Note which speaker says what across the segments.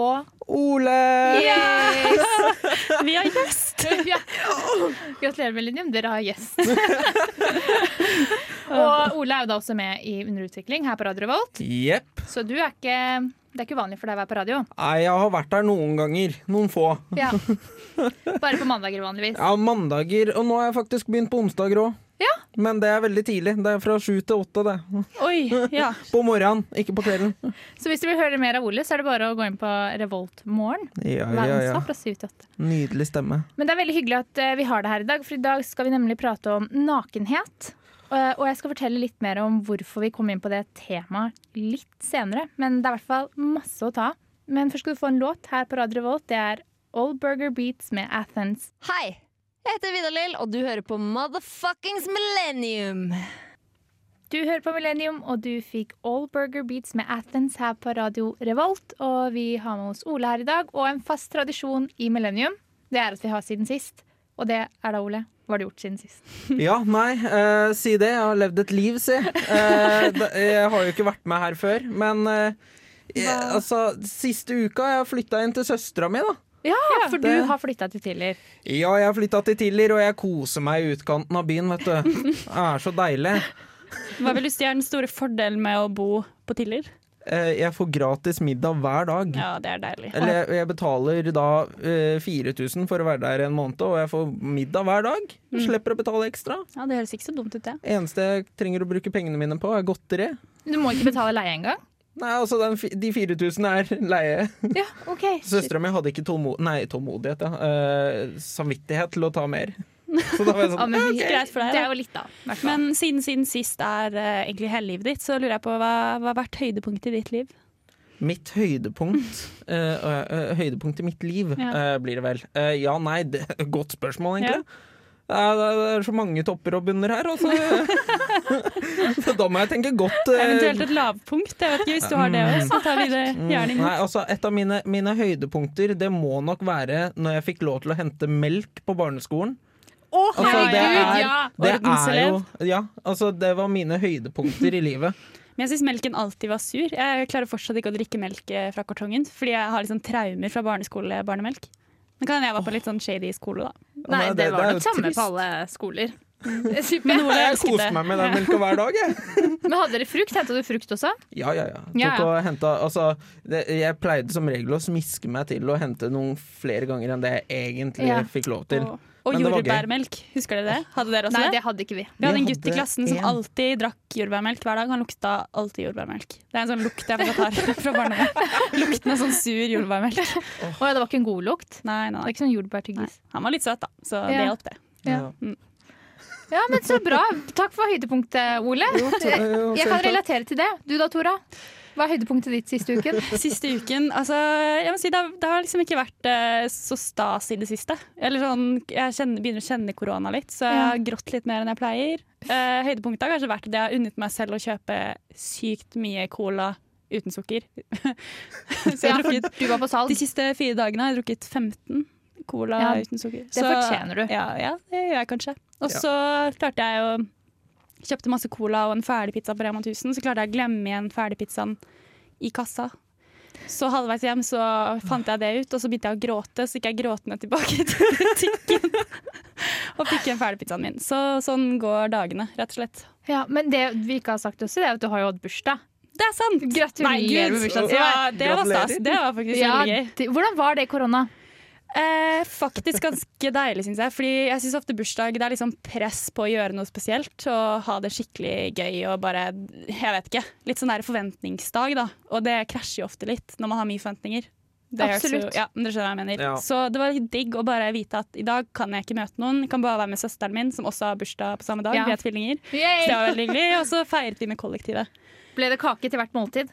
Speaker 1: Og
Speaker 2: Ole!
Speaker 1: Yes! vi har gjest! ja. Gratulerer, Millennium, dere har gjest. og Ole er jo da også med i Underutvikling her på Radio Revolt,
Speaker 2: Jepp.
Speaker 1: så du er ikke det er ikke uvanlig for deg å være på radio.
Speaker 2: Nei, jeg har vært der noen ganger. Noen få.
Speaker 1: Ja. Bare på mandager vanligvis.
Speaker 2: Ja, mandager, og nå har jeg faktisk begynt på onsdager òg.
Speaker 1: Ja.
Speaker 2: Men det er veldig tidlig. Det er fra sju til åtte, det.
Speaker 3: Oi, ja.
Speaker 2: På morgenen, ikke på kvelden.
Speaker 1: Så hvis du vil høre mer av Ole, så er det bare å gå inn på Revolt morgen
Speaker 2: Ja,
Speaker 1: hver
Speaker 2: ja, ja.
Speaker 1: onsdag fra syv til åtte.
Speaker 2: Nydelig stemme.
Speaker 1: Men det er veldig hyggelig at eh, vi har det her i dag, for i dag skal vi nemlig prate om nakenhet. Eh, Og jeg skal fortelle litt mer om hvorfor vi kom inn på det temaet litt senere. Men det er i hvert fall masse å ta av. Men først skal du få en låt her på Radio Revolt. Det er Old Burger Beats med Athens.
Speaker 4: Hei, jeg heter Vidar Lill, og du hører på Motherfuckings Millennium.
Speaker 1: Du hører på Millennium, og du fikk Old Burger Beats med Athens her på Radio Revolt. Og vi har med oss Ole her i dag, og en fast tradisjon i Millennium. Det er at vi har siden sist. Og det er da, Ole, hva har du gjort siden sist?
Speaker 2: Ja, nei, eh, si det. Jeg har levd et liv, si. Eh, da- jeg har jo ikke vært med her før, men eh, jeg,
Speaker 1: Hva?
Speaker 2: altså, siste uka jeg flytta inn til søstera mi, da.
Speaker 1: Ja, for du
Speaker 2: det-
Speaker 1: har flytta til Tiller.
Speaker 2: Ja, jeg flytta til Tiller, og jeg koser meg i utkanten av byen, vet du. Det er så deilig.
Speaker 3: Hva vil du si er den store fordelen med å bo på Tiller?
Speaker 2: Eh, Jeg får gratis middag hver dag.
Speaker 3: Ja, det er deilig.
Speaker 2: Mm. Eller jeg, jeg betaler da eh, 4000 for å være der en måned, og jeg får middag hver dag.
Speaker 1: Mm.
Speaker 2: Jeg Slipper å betale ekstra.
Speaker 3: Ja, det høres ikke så dumt ut, det.
Speaker 2: Eneste jeg trenger å bruke pengene mine på, er godteri.
Speaker 1: Du må ikke betale leie engang?
Speaker 2: Nei, altså den, fi- De 4000 er leie.
Speaker 1: Ja, OK.
Speaker 2: Søstera mi hadde ikke tålmo nei, tålmodighet, ja. Eh, samvittighet til å ta mer. Så da var jeg
Speaker 1: Ja,
Speaker 2: sånn
Speaker 1: men vi,
Speaker 3: Greit for deg, da.
Speaker 1: Det er jo litt, da. i hvert fall.
Speaker 3: Men siden, siden sist er eh, egentlig hele livet ditt, så lurer jeg på hva, hva har vært høydepunktet i ditt liv?
Speaker 2: Mitt høydepunkt eh, eh, Høydepunkt i mitt liv
Speaker 3: Ja.
Speaker 2: eh, blir det vel. Eh, ja, nei, det, godt spørsmål, egentlig. Eh, Det, er, det er så mange topper og bunner her, altså. så da må jeg tenke godt. eh,
Speaker 3: Eventuelt et lavpunkt. Jeg vet ikke hvis du har det òg, så tar vi det
Speaker 2: mm,
Speaker 3: gjerne
Speaker 2: Nei,
Speaker 3: imot.
Speaker 2: altså Et av mine, mine høydepunkter Det må nok være når jeg fikk lov til å hente melk på barneskolen.
Speaker 1: Å,
Speaker 2: Altså, det
Speaker 1: herregud,
Speaker 2: er-
Speaker 1: ja!
Speaker 2: Det er
Speaker 3: Ordenselev.
Speaker 2: jo Ja, altså det var mine høydepunkter i livet.
Speaker 3: Men jeg syns melken alltid var sur. Jeg klarer fortsatt ikke å drikke melk eh, fra kartongen, fordi jeg har liksom traumer fra barneskolebarnemelk. Men kan hende jeg var på litt sånn shady skole, da.
Speaker 1: Nei,
Speaker 2: Men
Speaker 1: det
Speaker 2: er
Speaker 1: var
Speaker 2: jo
Speaker 1: nok samme
Speaker 2: trist.
Speaker 1: på alle skoler.
Speaker 3: Men Ole
Speaker 2: Jeg
Speaker 3: elsket
Speaker 2: koste
Speaker 3: det.
Speaker 2: meg med den melka hver dag, jeg.
Speaker 1: Men hadde dere frukt? Henta du frukt også?
Speaker 2: Ja, ja, ja.
Speaker 1: Ja, ja.
Speaker 2: Tok og henta, altså, det, jeg pleide som regel å smiske meg til å hente noen flere ganger enn det jeg egentlig
Speaker 1: Ja.
Speaker 2: fikk lov til.
Speaker 3: Og, og
Speaker 2: Men det var gøy.
Speaker 3: jordbærbmelk, husker dere det? Hadde dere også
Speaker 1: Nei,
Speaker 3: det?
Speaker 1: det hadde ikke vi.
Speaker 3: Vi hadde en
Speaker 2: Vi
Speaker 3: gutt i
Speaker 2: hadde
Speaker 3: klassen som
Speaker 2: en.
Speaker 3: alltid drakk jordbærmelk hver dag. Han lukta alltid jordbærmelk. Det er en sånn lukt jeg fortsatt har fra barndommen. Lukten av sånn sur jordbærmelk.
Speaker 1: Å, ja, det var ikke en god lukt.
Speaker 3: Nei, nei,
Speaker 1: Det
Speaker 3: nei.
Speaker 1: var ikke sånn
Speaker 3: nei.
Speaker 1: jordbærtyggis.
Speaker 3: Han var litt søt, da, så det
Speaker 1: Ja.
Speaker 3: hjalp, det.
Speaker 1: Ja.
Speaker 2: Ja.
Speaker 1: Ja, men så bra. Takk for høydepunktet, Ole.
Speaker 2: Jo, så- eh, jo,
Speaker 1: Jeg kan
Speaker 2: selv takk.
Speaker 1: relatere til det. Du da, Tora? Hva er høydepunktet ditt siste uken?
Speaker 3: Siste uken Altså, jeg må si det har, det har liksom ikke vært eh, så stas i det siste. Eller sånn, Jeg kjenner, begynner å kjenne korona litt, så jeg
Speaker 1: Ja.
Speaker 3: har grått litt mer enn jeg pleier. Eh, høydepunktet har kanskje vært at jeg har unnet meg selv å kjøpe sykt mye cola uten sukker. så jeg
Speaker 1: Ja,
Speaker 3: har
Speaker 1: for
Speaker 3: drukket
Speaker 1: du var på
Speaker 3: De
Speaker 1: salg.
Speaker 3: siste fire dagene har jeg drukket 15 cola
Speaker 1: Ja,
Speaker 3: uten sukker.
Speaker 1: det fortjener du.
Speaker 3: Ja, ja, det gjør jeg kanskje. Og
Speaker 2: Ja.
Speaker 3: så klarte jeg å Kjøpte masse cola og en ferdigpizza på Rema 1000, så klarte jeg å glemme igjen ferdigpizzaen i kassa. Så halvveis hjem så fant jeg det ut, og så begynte jeg å gråte. Så gikk jeg gråtende tilbake til butikken og fikk igjen ferdigpizzaen min. Så sånn går dagene, rett og slett.
Speaker 1: Ja, men det vi ikke har sagt også, det er at du har jo hatt bursdag.
Speaker 3: Det er sant! Nei,
Speaker 1: Gratulerer
Speaker 3: gud.
Speaker 1: med bursdagen.
Speaker 3: Ja, det var stas.
Speaker 2: Gratulerer.
Speaker 3: Det var faktisk
Speaker 1: Ja,
Speaker 3: veldig gøy.
Speaker 1: det- hvordan var det i korona?
Speaker 3: Eh, faktisk ganske deilig, syns jeg. Fordi jeg syns ofte bursdag det er liksom press på å gjøre noe spesielt og ha det skikkelig gøy og bare Jeg vet ikke. Litt sånn der forventningsdag, da. Og det krasjer jo ofte litt når man har mye forventninger. Det høres jo-
Speaker 1: Absolutt.
Speaker 3: Ja, men dere skjønner hva jeg mener.
Speaker 2: Ja.
Speaker 3: Så det var litt digg å bare vite at i dag kan jeg ikke møte noen. Jeg kan bare være med søsteren min, som også har bursdag på samme dag.
Speaker 1: Ja.
Speaker 3: Vi er tvillinger. Så det
Speaker 1: Yay!
Speaker 3: var veldig hyggelig. Og så feiret vi med kollektivet.
Speaker 1: Ble det kake til hvert måltid?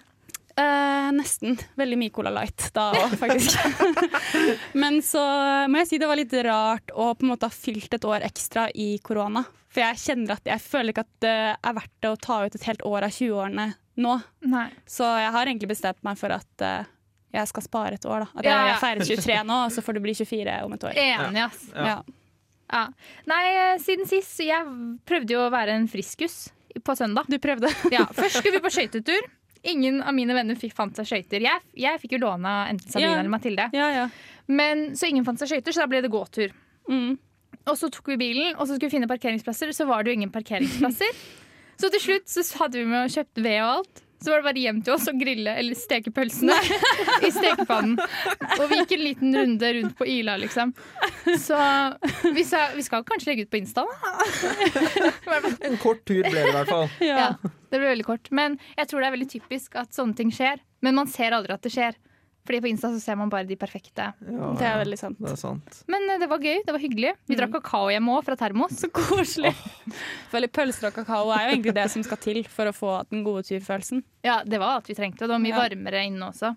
Speaker 3: Eh, nesten. Veldig mye Cola Light da òg, faktisk. Men så må jeg si det var litt rart å på en måte ha fylt et år ekstra i korona. For jeg kjenner at jeg føler ikke at det er verdt det å ta ut et helt år av 20-årene nå.
Speaker 1: Nei.
Speaker 3: Så jeg har egentlig bestemt meg for at eh, jeg skal spare et år. da At jeg,
Speaker 1: Ja, ja.
Speaker 3: jeg feirer 23 nå, og så får du bli 24 om et år.
Speaker 1: Enig, ass.
Speaker 2: Ja.
Speaker 3: Ja.
Speaker 1: Ja. Nei, eh, siden sist så Jeg prøvde jo å være en friskus på søndag.
Speaker 3: Du prøvde.
Speaker 1: Ja, først skulle vi på skøytetur. Ingen av mine venner fikk, fant seg skøyter. Jeg, jeg fikk jo låne enten Sabrina
Speaker 3: Ja.
Speaker 1: eller Mathilde.
Speaker 3: Ja, ja.
Speaker 1: Men, så ingen fant seg skøyter, så da ble det gåtur.
Speaker 3: Mm.
Speaker 1: Og så tok vi bilen, og så skulle vi finne parkeringsplasser, så var det jo ingen parkeringsplasser. så til slutt så hadde vi med og kjøpt ved og alt. Så var det bare hjem til oss og grille eller steke pølsene i stekepannen. Og vi gikk en liten runde rundt på Ila, liksom. Så vi sa vi skal kanskje legge ut på Insta, da.
Speaker 2: En kort tur ble det i hvert fall.
Speaker 3: Ja.
Speaker 1: Ja, det ble veldig kort. Men jeg tror det er veldig typisk at sånne ting skjer. Men man ser aldri at det skjer. Fordi på Insta så ser man bare de perfekte.
Speaker 2: Ja,
Speaker 3: Det er veldig sant.
Speaker 2: det er sant.
Speaker 1: Men eh, det var gøy. Det var hyggelig. Vi drakk kakao hjemme òg, fra termos.
Speaker 3: Så koselig. Føler Pølser og kakao er jo egentlig det som skal til for å få den gode turfølelsen.
Speaker 1: Ja, det var alt vi trengte. Og det var mye
Speaker 3: Ja.
Speaker 1: varmere inne også.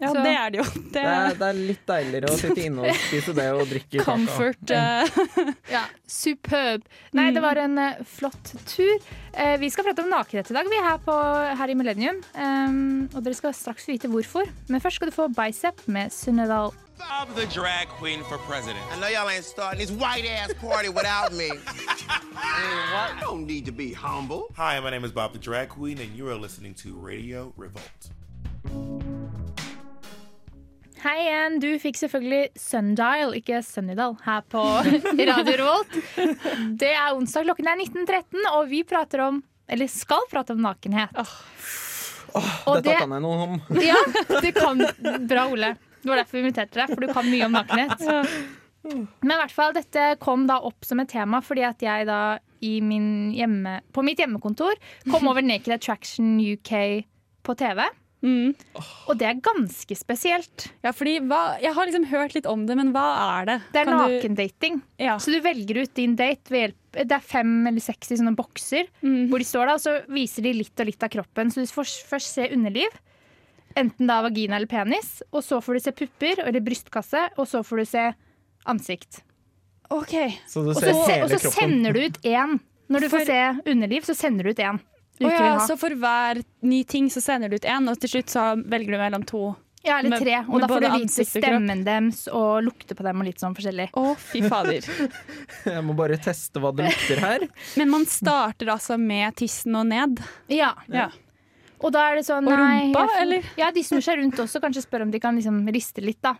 Speaker 3: Ja,
Speaker 1: Så-
Speaker 3: det er det jo. Det
Speaker 2: Det er, det er litt deiligere å sitte inne og spise det og drikke kaka.
Speaker 3: comfort. eh,
Speaker 1: Ja, Superb. Nei, det var en eh, flott tur. Eh, vi skal prate om nakenhet i dag, vi er her, på, her i Millennium. Em, og dere skal straks vite hvorfor. Men først skal du få Bicep med Sunnedal.
Speaker 5: I'm the drag queen for president.
Speaker 6: I know y'all ain't starting this white ass party without me. I don't need to be humble.
Speaker 5: Hi, my name is Bob the Drag Queen, and you are listening to Radio Revolt.
Speaker 1: Hei igjen. Du fikk selvfølgelig Sundial, ikke Sunnydal, her på Radio Revolt. Det er onsdag, klokken er 19.13, og vi prater om eller skal prate om nakenhet. og
Speaker 2: Dette
Speaker 1: det-
Speaker 2: kan jeg noe om.
Speaker 1: Ja, det kan Bra, Ole. Det var derfor vi inviterte deg, for du kan mye om nakenhet. Men i hvert fall, dette kom da opp som et tema fordi at jeg da i min hjemme, på mitt hjemmekontor kom over Naked Attraction UK på TV.
Speaker 3: Mm.
Speaker 1: Og det er ganske spesielt.
Speaker 3: Ja, fordi hva, jeg har liksom hørt litt om det, men hva er det?
Speaker 1: Det er
Speaker 3: Kan du-
Speaker 1: nakendating.
Speaker 3: Ja.
Speaker 1: Så du velger ut din date ved hjelp eh, Det er fem eller seks i sånne bokser
Speaker 3: Mhm.
Speaker 1: hvor de står da, og så viser de litt og litt av kroppen. Så du får s- først se underliv, enten da vagina eller penis, og så får du se pupper eller brystkasse, og så får du se ansikt.
Speaker 3: OK.
Speaker 2: Så du
Speaker 1: Og
Speaker 2: ser
Speaker 1: så, se, og
Speaker 2: hele
Speaker 1: så
Speaker 2: kroppen.
Speaker 1: sender du ut én. Når du
Speaker 3: For-
Speaker 1: får se underliv, så sender du ut én. Du
Speaker 3: Å
Speaker 1: ikke
Speaker 3: ja,
Speaker 1: vil ha.
Speaker 3: så for hver ny ting så sender du ut én, og til slutt så velger du mellom to.
Speaker 1: ja, eller
Speaker 3: med-
Speaker 1: tre. Og
Speaker 3: med
Speaker 1: da får
Speaker 3: både
Speaker 1: du vite
Speaker 3: ansikt og kropp.
Speaker 1: stemmen deres og lukte på dem og litt sånn forskjellig.
Speaker 3: Å, fy fader.
Speaker 2: Jeg må bare teste hva det lukter her.
Speaker 3: Men man starter altså med tissen og ned.
Speaker 1: Ja,
Speaker 3: Ja.
Speaker 1: Og da er det sånn
Speaker 3: Og
Speaker 1: nei,
Speaker 3: rumpa,
Speaker 1: jeg-
Speaker 3: eller?
Speaker 1: Ja, de snur seg rundt også. Kanskje spør om de kan liksom riste litt, da.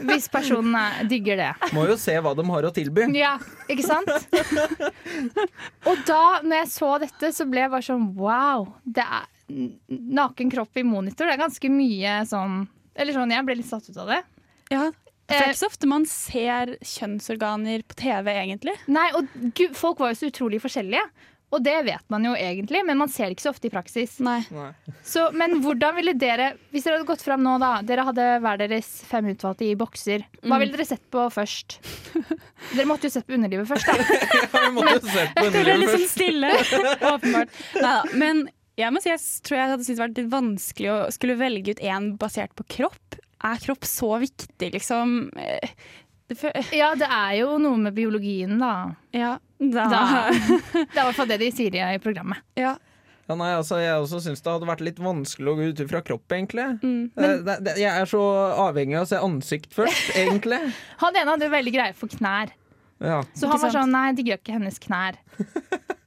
Speaker 1: Hvis personen er, digger det.
Speaker 2: Må jo se hva de har å tilby.
Speaker 1: Ja, ikke sant? Og da, når jeg så dette, så ble jeg bare sånn wow. Det er n- naken kropp i monitor. Det er ganske mye sånn Eller sånn, jeg ble litt satt ut av det.
Speaker 3: Ja. For det
Speaker 1: Eh.
Speaker 3: er ikke så ofte man ser kjønnsorganer på TV, egentlig.
Speaker 1: Nei, og gud, folk var jo så utrolig forskjellige. Og det vet man jo egentlig, men man ser det ikke så ofte i praksis.
Speaker 3: Nei.
Speaker 1: Så, men hvordan ville dere, hvis dere hadde gått fram nå da, dere hadde hver deres fem utvalgte i bokser, hva ville dere sett på først? Dere måtte jo sett på underlivet først da.
Speaker 2: Vi måtte jo se på
Speaker 3: Det ble
Speaker 1: liksom
Speaker 2: underlivet
Speaker 3: litt sånn
Speaker 2: først.
Speaker 3: stille, åpenbart. Neida, Men jeg må si, jeg s- tror jeg hadde syntes det vært litt vanskelig å skulle velge ut én basert på kropp. Er kropp så viktig, liksom? Eh, Det fø-
Speaker 1: Ja, det er jo noe med biologien da.
Speaker 3: ja, da.
Speaker 1: Da. Det er i hvert fall det de sier i programmet.
Speaker 3: ja.
Speaker 2: Ja, nei, altså, jeg også syns det hadde vært litt vanskelig å gå ut fra kropp, egentlig.
Speaker 3: Mm,
Speaker 2: Eh, det, det, jeg er så avhengig av å se ansikt først, egentlig.
Speaker 1: Han ene hadde jo veldig greie for knær,
Speaker 2: Ja.
Speaker 1: så
Speaker 3: Ikke
Speaker 1: han var
Speaker 3: sant?
Speaker 1: sånn, nei, de gjør ikke hennes knær.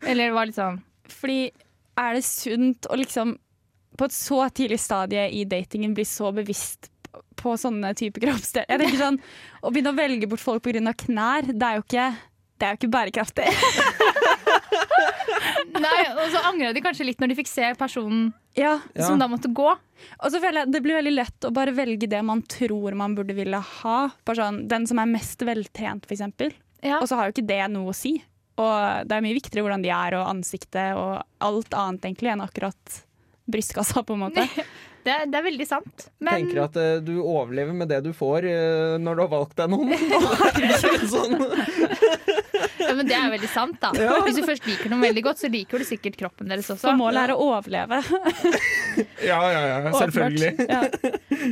Speaker 1: Eller det var litt sånn,
Speaker 3: Fordi er det sunt å liksom på et så tidlig stadie i datingen bli så bevisst p- på sånne type kroppsdeler? Jeg tenker sånn, Å begynne å velge bort folk pga. knær, det er jo ikke, det er jo ikke bærekraftig.
Speaker 1: nei, og så angret de kanskje litt når de fikk se personen
Speaker 3: Ja,
Speaker 2: Ja.
Speaker 1: som da måtte gå.
Speaker 3: Og så føler jeg Det blir veldig lett å bare velge det man tror man burde ville ha. Bare sånn, Den som er mest veltrent, f.eks.
Speaker 1: Ja.
Speaker 3: Og så har jo ikke det noe å si. Og det er mye viktigere hvordan de er, og ansiktet og alt annet egentlig enn akkurat brystkassa, på en måte.
Speaker 1: Det, er- det er veldig sant. Men
Speaker 2: Tenker at eh, du overlever med det du får eh, når du har valgt deg noen. sånn.
Speaker 1: Ja, men det er veldig sant, da. Hvis du først liker noen veldig godt, så liker du sikkert kroppen deres også.
Speaker 3: Så målet er å overleve.
Speaker 2: Ja, ja, ja, selvfølgelig.
Speaker 3: Åpenbart. Ja.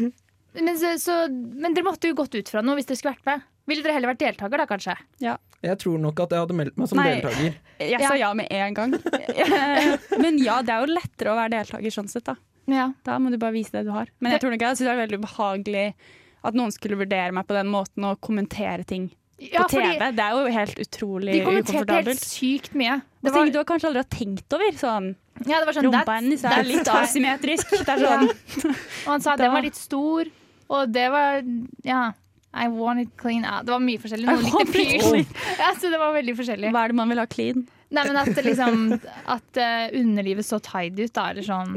Speaker 1: Men, så, så, men dere måtte jo gått ut fra noe hvis dere skulle vært med. Ville dere heller vært deltaker da, kanskje?
Speaker 2: Jeg tror nok at jeg hadde meldt meg som
Speaker 3: Nei.
Speaker 2: deltaker.
Speaker 3: Jeg sa ja med en gang. Men ja, det er jo lettere å være deltaker sånn sett, da.
Speaker 1: Ja.
Speaker 3: Da må du bare vise det du har. Men jeg tror nok jeg synes det er veldig ubehagelig at noen skulle vurdere meg på den måten og kommentere ting på TV.
Speaker 1: fordi
Speaker 3: Det er jo helt utrolig
Speaker 1: de kommenterte helt
Speaker 3: ukomfortabelt.
Speaker 1: sykt mye.
Speaker 3: Det var... ting du har kanskje aldri har tenkt over. Sånn,
Speaker 1: ja, det var sånn,
Speaker 3: rumpa
Speaker 1: that's-
Speaker 3: hennes
Speaker 1: that's
Speaker 3: er litt
Speaker 1: tight.
Speaker 3: asymmetrisk. Det er
Speaker 1: Ja.
Speaker 3: sånn,
Speaker 1: Og han sa at den var litt stor, og det var Ja. I want it clean. Ja, det var mye forskjellig. Noen likte
Speaker 3: want it
Speaker 1: pyr. Ja, så det var veldig forskjellig.
Speaker 3: Hva er det man vil ha clean?
Speaker 1: Nei, men at det liksom At eh, underlivet så tight ut, da. Eller sånn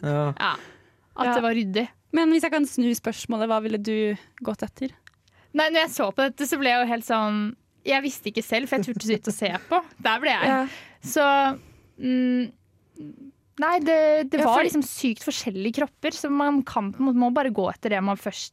Speaker 2: Ja.
Speaker 1: Ja. At
Speaker 3: Ja.
Speaker 1: det var ryddig.
Speaker 3: Men hvis jeg kan snu spørsmålet, hva ville du gått etter?
Speaker 1: Nei, når jeg så på dette, så ble jeg jo helt sånn Jeg visste ikke selv, for jeg turte så vidt å se på. Der ble jeg. Så mm, Nei, det, det
Speaker 3: Ja,
Speaker 1: var
Speaker 3: fordi-
Speaker 1: liksom sykt forskjellige kropper, så man kan på en måte må bare gå etter det man først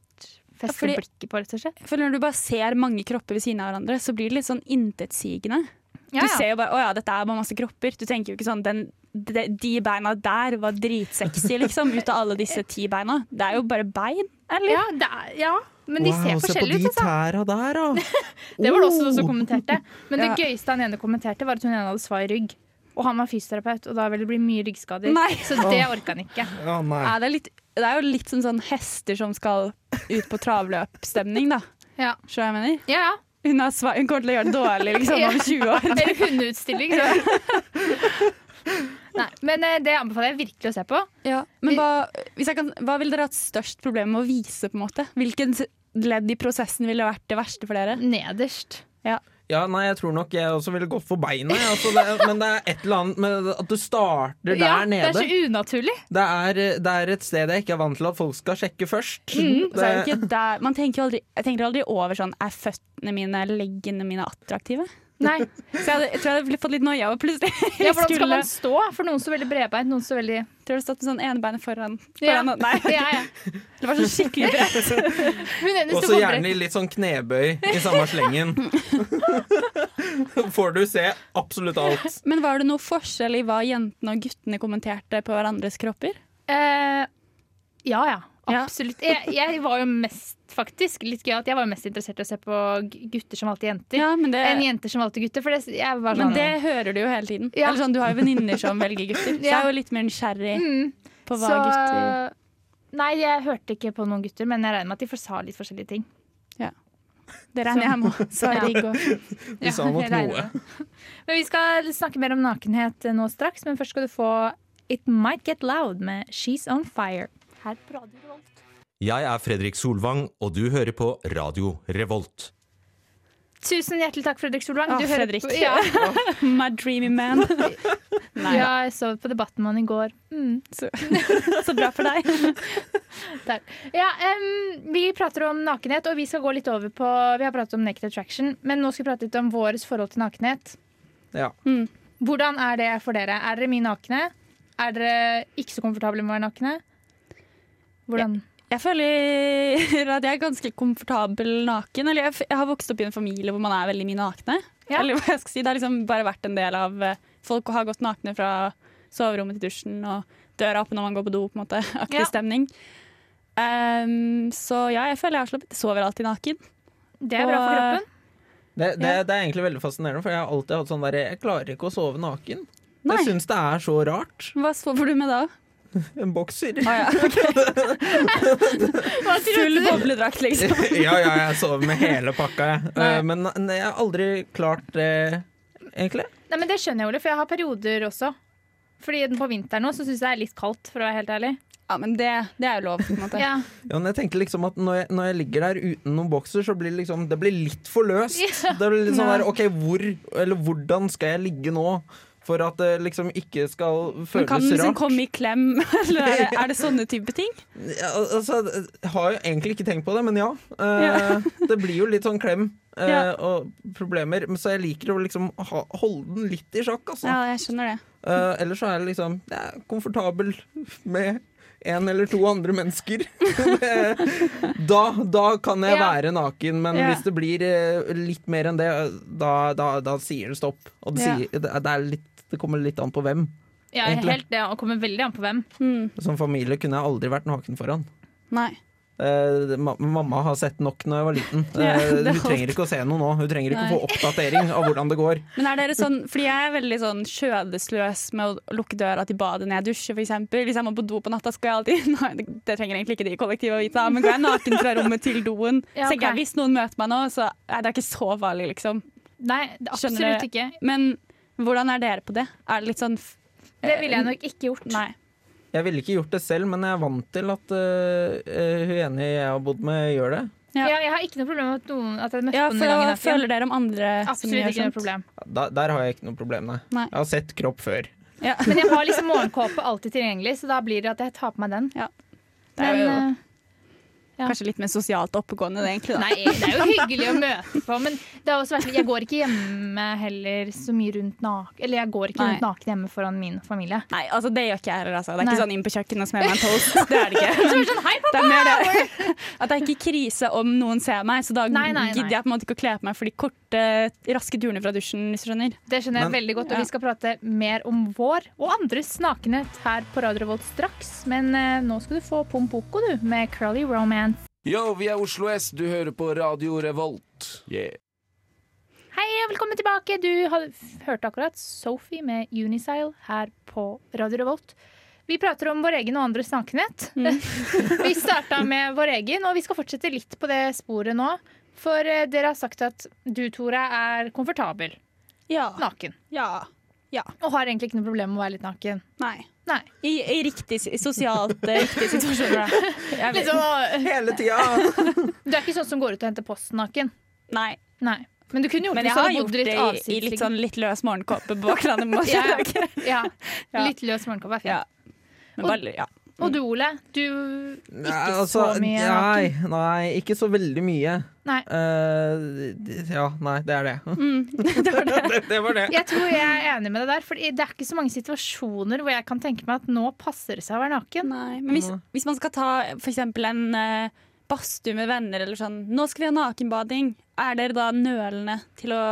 Speaker 1: fester
Speaker 3: fordi-
Speaker 1: blikket på, rett og slett.
Speaker 3: For når du bare ser mange kropper ved siden av hverandre, så blir det litt sånn intetsigende.
Speaker 1: Ja,
Speaker 3: Du ser jo bare 'å ja, dette er bare masse kropper'. Du tenker jo ikke sånn den, de, 'de beina der var dritsexy', liksom, ut av alle disse ti beina. Det er jo bare bein, eller?
Speaker 1: ja, det er, ja. men de ser forskjellige ut.
Speaker 2: Se på de
Speaker 1: Altså.
Speaker 2: tæra der, da.
Speaker 1: Det var det også
Speaker 2: Oh!
Speaker 1: noen som kommenterte. Men det
Speaker 3: Ja.
Speaker 1: gøyeste han ene kommenterte, var at hun ene hadde svai rygg. Og han var fysioterapeut, og da ville det bli mye ryggskader.
Speaker 3: Nei.
Speaker 1: Så det orka han ikke.
Speaker 2: Ja, nei.
Speaker 3: Ja, det, er litt, det er jo litt som sånn hester som skal ut på travløpstemning, da.
Speaker 1: Ja,
Speaker 3: Skjønner du hva jeg mener?
Speaker 1: ja. ja.
Speaker 3: Hun, har sva- hun kommer til å gjøre det dårlig liksom, om 20 år.
Speaker 1: Eller hundeutstilling. Så. Nei, men eh, det anbefaler jeg virkelig å se på.
Speaker 3: Ja, men hva, hvis jeg kan, hva ville dere hatt størst problem med å vise? på en måte? Hvilken s- ledd i prosessen ville vært det verste for dere?
Speaker 1: Nederst.
Speaker 2: Ja, nei, jeg tror nok jeg også ville gått for beina. jeg, Altså, det, er- men det er et eller annet med at du starter der
Speaker 1: ja,
Speaker 2: nede.
Speaker 1: Det er så unaturlig.
Speaker 2: Det er, det er et sted jeg ikke er vant til at folk skal sjekke først.
Speaker 3: Så er det ikke der, man tenker jo aldri, jeg tenker aldri over sånn Er føttene mine, leggene mine attraktive?
Speaker 1: Nei.
Speaker 3: Så jeg, hadde, jeg tror jeg hadde fått litt noia over plutselig.
Speaker 1: Ja, hvordan skal
Speaker 3: Skulle-
Speaker 1: man stå? For noen så veldig bredbeint, noen så veldig
Speaker 3: Tror jeg hadde stått med sånn ene beinet foran.
Speaker 1: Ja.
Speaker 3: foran Nei,
Speaker 1: ja, ja.
Speaker 3: det var sånn skikkelig bredt.
Speaker 1: Hun ene sto
Speaker 2: Også
Speaker 1: på
Speaker 2: gjerne
Speaker 1: brett.
Speaker 2: i litt sånn knebøy i samme slengen. Får du se absolutt alt.
Speaker 3: Men var det noe forskjell i hva jentene og guttene kommenterte på hverandres kropper?
Speaker 1: Eh, ja, ja.
Speaker 3: Ja.
Speaker 1: Absolutt. Jeg, jeg var jo mest, faktisk, litt gøy at jeg var jo mest interessert i å se på g- gutter som valgte jenter,
Speaker 3: Ja, men
Speaker 1: enn
Speaker 3: det,
Speaker 1: jenter som valgte gutter. For det, jeg var sånn
Speaker 3: men det hører du jo hele tiden.
Speaker 1: Ja.
Speaker 3: Eller sånn, Du har jo venninner som velger gutter, så jeg
Speaker 1: Ja.
Speaker 3: er jo litt mer nysgjerrig
Speaker 1: Mm.
Speaker 3: på hva
Speaker 1: Så
Speaker 3: gutter
Speaker 1: Nei, jeg hørte ikke på noen gutter, men jeg regner med at de for- sa litt forskjellige ting.
Speaker 3: Det regner jeg med. Så
Speaker 1: Ja.
Speaker 3: digg også.
Speaker 2: De sa nok
Speaker 1: jeg regner
Speaker 2: noe.
Speaker 1: med det. Men vi skal snakke mer om nakenhet eh, nå straks, men først skal du få It Might Get Loud med She's On Fire. Her på Radio Revolt.
Speaker 7: Jeg er Fredrik Solvang, og du hører på Radio Revolt.
Speaker 1: Tusen hjertelig takk, Fredrik Solvang.
Speaker 3: Ah,
Speaker 1: Du hører
Speaker 3: Fredrik.
Speaker 1: På, ja.
Speaker 3: My dreamy man. Nei,
Speaker 1: ja, jeg så på Debatten med han i går. Mm.
Speaker 3: Så bra for deg.
Speaker 1: Der. Ja, em, vi prater om nakenhet, og vi skal gå litt over på Vi har pratet om naked attraction, men nå skal vi prate litt om vårt forhold til nakenhet.
Speaker 2: Ja.
Speaker 1: Hvordan er det for dere? Er dere mye nakne? Er dere ikke så komfortable med å være nakne? Hvordan?
Speaker 3: Jeg føler at jeg er ganske komfortabel naken. Eller jeg, f- jeg har vokst opp i en familie hvor man er veldig mye nakne.
Speaker 1: Ja.
Speaker 3: Eller hva jeg skal si, Det har liksom bare vært en del av eh, Folk har gått nakne fra soverommet til dusjen og døra opp når man går på do. på en måte, Aktiv
Speaker 1: Ja.
Speaker 3: stemning. Ehm, så ja, jeg føler jeg har slappet Sover alltid naken.
Speaker 1: Det er bra for
Speaker 3: Og-
Speaker 1: kroppen.
Speaker 2: Det, det, det er egentlig veldig fascinerende, for jeg har alltid hatt sånn der Jeg klarer ikke å sove naken.
Speaker 3: Nei.
Speaker 2: Jeg syns det er så rart.
Speaker 3: Hva sover du med da?
Speaker 2: En bokser.
Speaker 3: Ah, ja. Full bobledrakt, liksom.
Speaker 2: ja, ja, jeg sover med hele pakka, jeg. Eh, Men nei, jeg har aldri klart det, egentlig.
Speaker 1: Nei, men Det skjønner jeg, Ole, for jeg har perioder også. Fordi på vinteren nå så syns jeg det er litt kaldt, for å være helt ærlig.
Speaker 3: Ja, men det, det er jo lov. på en måte.
Speaker 1: Ja.
Speaker 2: Ja, men jeg tenker liksom at når jeg, når jeg ligger der uten noen bokser, så blir det liksom Det blir litt for løst. Det blir litt sånn der OK, hvor Eller hvordan skal jeg ligge nå for at det liksom ikke skal
Speaker 3: Men
Speaker 2: føles
Speaker 3: kan den liksom
Speaker 2: rart?
Speaker 3: komme i klem, eller er det, er det sånne type ting?
Speaker 2: Ja, altså, jeg har jo egentlig ikke tenkt på det, men ja. Eh, det blir jo litt sånn klem eh,
Speaker 3: Ja.
Speaker 2: og problemer. Men så jeg liker å liksom ha, holde den litt i sjakk, altså.
Speaker 3: Ja, jeg skjønner det.
Speaker 2: Eh, ellers så er jeg liksom jeg er komfortabel med en eller to andre mennesker. Det- da, da kan jeg
Speaker 1: Ja.
Speaker 2: være naken, men
Speaker 1: Ja.
Speaker 2: hvis det blir eh, litt mer enn det, da, da, da sier det stopp. Og det,
Speaker 3: Ja.
Speaker 2: sier, det, er litt, det kommer litt an på hvem.
Speaker 1: Ja,
Speaker 2: Egentlig.
Speaker 1: helt det. Og kommer veldig an på hvem.
Speaker 2: Som familie kunne jeg aldri vært naken foran.
Speaker 3: Nei.
Speaker 2: Eh, ma mamma har sett nok når jeg var liten.
Speaker 3: Ja,
Speaker 2: Eh,
Speaker 3: det
Speaker 2: hun
Speaker 3: holdt.
Speaker 2: trenger ikke å se noe nå. Hun trenger ikke å få oppdatering av hvordan det går.
Speaker 3: Men er dere sånn, fordi jeg er veldig sånn skjødesløs med å lukke døra til badet når jeg dusjer, f.eks. Hvis jeg må på do på natta, skal jeg alltid Nei, det- det trenger egentlig ikke de i kollektivet å vite, da, men går jeg naken fra rommet til doen,
Speaker 1: Ja,
Speaker 3: så tenker
Speaker 1: ok.
Speaker 3: jeg hvis noen møter meg nå, så er det er ikke så farlig, liksom.
Speaker 1: Nei, det-
Speaker 3: Skjønner
Speaker 1: absolutt
Speaker 3: du?
Speaker 1: ikke.
Speaker 3: Men hvordan er dere på det? Er det litt sånn f-
Speaker 1: Det ville jeg nok ikke gjort.
Speaker 3: Nei.
Speaker 2: Jeg ville ikke gjort det selv, men jeg er vant til at eh, eh, hun enige jeg har bodd med, gjør det.
Speaker 3: Ja.
Speaker 1: Ja, jeg har ikke noe problem med at, noen, at jeg møtte
Speaker 3: Ja,
Speaker 1: på
Speaker 3: for
Speaker 1: noen
Speaker 3: hva
Speaker 1: ganger.
Speaker 3: føler dere om andre som
Speaker 1: Absolutt
Speaker 3: gjør
Speaker 1: ikke noe
Speaker 3: sånt?
Speaker 1: problem.
Speaker 2: Da, der har jeg ikke noe problem, nei.
Speaker 3: Nei.
Speaker 2: Jeg har sett kropp før.
Speaker 3: Ja.
Speaker 1: Men jeg har liksom morgenkåpe alltid tilgjengelig, så da blir det at jeg tar på meg den.
Speaker 3: Ja. Det er
Speaker 1: Men,
Speaker 3: jo
Speaker 1: eh, ja.
Speaker 3: kanskje litt mer sosialt oppegående, det, egentlig. Da.
Speaker 1: nei, det er jo hyggelig å møte på, men det har også vært, litt- jeg går ikke hjemme heller så mye rundt naken Eller jeg går ikke rundt
Speaker 3: Nei.
Speaker 1: naken hjemme foran min familie.
Speaker 3: Nei, altså det gjør ikke jeg heller. Altså. Det er
Speaker 1: Nei.
Speaker 3: ikke sånn inn på kjøkkenet og smøre meg en toast. Det er det ikke. Men
Speaker 1: Sånn,
Speaker 3: det er mer det at det er ikke krise om noen ser meg, så da
Speaker 1: Nei, nei, nei.
Speaker 3: gidder jeg på en måte ikke å kle på meg for de korte, raske turene fra dusjen, hvis du skjønner.
Speaker 1: Det skjønner jeg
Speaker 2: Men-
Speaker 1: veldig godt, og
Speaker 3: Ja.
Speaker 1: vi skal prate mer om vår og andres nakenhet her på Radio Revolt straks. Men eh, nå skal du få Pompoko, du, med Curly Romance.
Speaker 8: Yo, vi er Oslo S. Du hører på Radio Revolt.
Speaker 1: Hei og velkommen tilbake! Du har- hørte akkurat Sophie med Unicyle her på Radio Revolt. Vi prater om vår egen og andres nakenhet. vi starta med vår egen, og vi skal fortsette litt på det sporet nå. For eh, dere har sagt at du, Tora, er komfortabel
Speaker 3: Ja.
Speaker 1: naken.
Speaker 3: ja.
Speaker 1: Og har egentlig ikke noe problem med å være litt naken.
Speaker 3: Nei.
Speaker 1: Nei.
Speaker 3: I, i riktig si- sosialt eh, riktig situasjon. Da. Jeg vet-
Speaker 1: Liksom,
Speaker 2: Hele tida!
Speaker 1: du er ikke sånn som går ut og henter posten naken.
Speaker 3: Nei.
Speaker 1: Nei. Men du kunne gjort
Speaker 3: Men
Speaker 1: det
Speaker 3: jeg
Speaker 1: så
Speaker 3: har
Speaker 1: du
Speaker 3: gjort
Speaker 1: bodde
Speaker 3: det
Speaker 1: litt
Speaker 3: i, i litt
Speaker 1: avsidesliggende.
Speaker 3: sånn litt løs morgenkåpe på baklandet. må jeg
Speaker 1: liksom. Ja,
Speaker 3: si.
Speaker 1: ja.
Speaker 3: sånn- Ja.
Speaker 1: Litt løs morgenkåpe er fint.
Speaker 3: Ja. Men bare, ja.
Speaker 1: Og du, Ole. Du ikke så mye
Speaker 2: altså, nei,
Speaker 1: naken.
Speaker 2: nei, ikke så veldig mye.
Speaker 1: Nei. Mm.
Speaker 2: Eh, d- ja, nei, det er det. det, det, det var det.
Speaker 1: Jeg tror jeg er enig med deg der, for det er ikke så mange situasjoner hvor jeg kan tenke meg at nå passer det seg å være naken.
Speaker 3: Nei, men hvis, hvis man skal ta for eksempel en eh, badstue med venner eller sånn Nå skal vi ha nakenbading. Er dere da nølende til å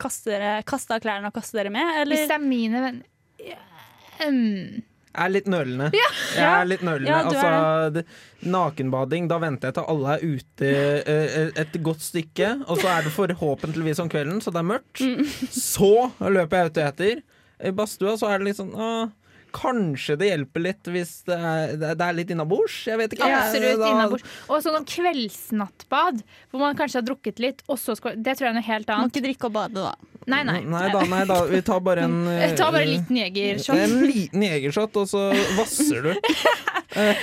Speaker 3: kaste, dere, kaste av klærne og kaste dere med?
Speaker 1: Hvis
Speaker 3: Eller?
Speaker 1: det er mine venner Mm.
Speaker 2: Jeg er litt nølende. Jeg
Speaker 3: Ja.
Speaker 2: er litt nølende.
Speaker 3: Ja, du er
Speaker 2: altså, det- nakenbading, da venter jeg til alle er ute eh, et godt stykke, og så er det forhåpentligvis om kvelden, så det er mørkt. Så løper jeg ut og etter. I badstua så er det litt sånn ah, Kanskje det hjelper litt hvis det er, det er litt innabords? Jeg vet ikke.
Speaker 1: Absolutt
Speaker 2: Da-
Speaker 1: innabords. Og sånn om kveldsnattbad, hvor man kanskje har drukket litt, og så skal Det tror jeg er noe helt
Speaker 3: Må
Speaker 1: annet.
Speaker 3: ikke drikke og bade, da.
Speaker 1: Nei, nei.
Speaker 2: Nei da, nei da. Vi tar bare en eh,
Speaker 1: Ta bare en liten jegershot.
Speaker 2: En liten jegershot, og så vasser du.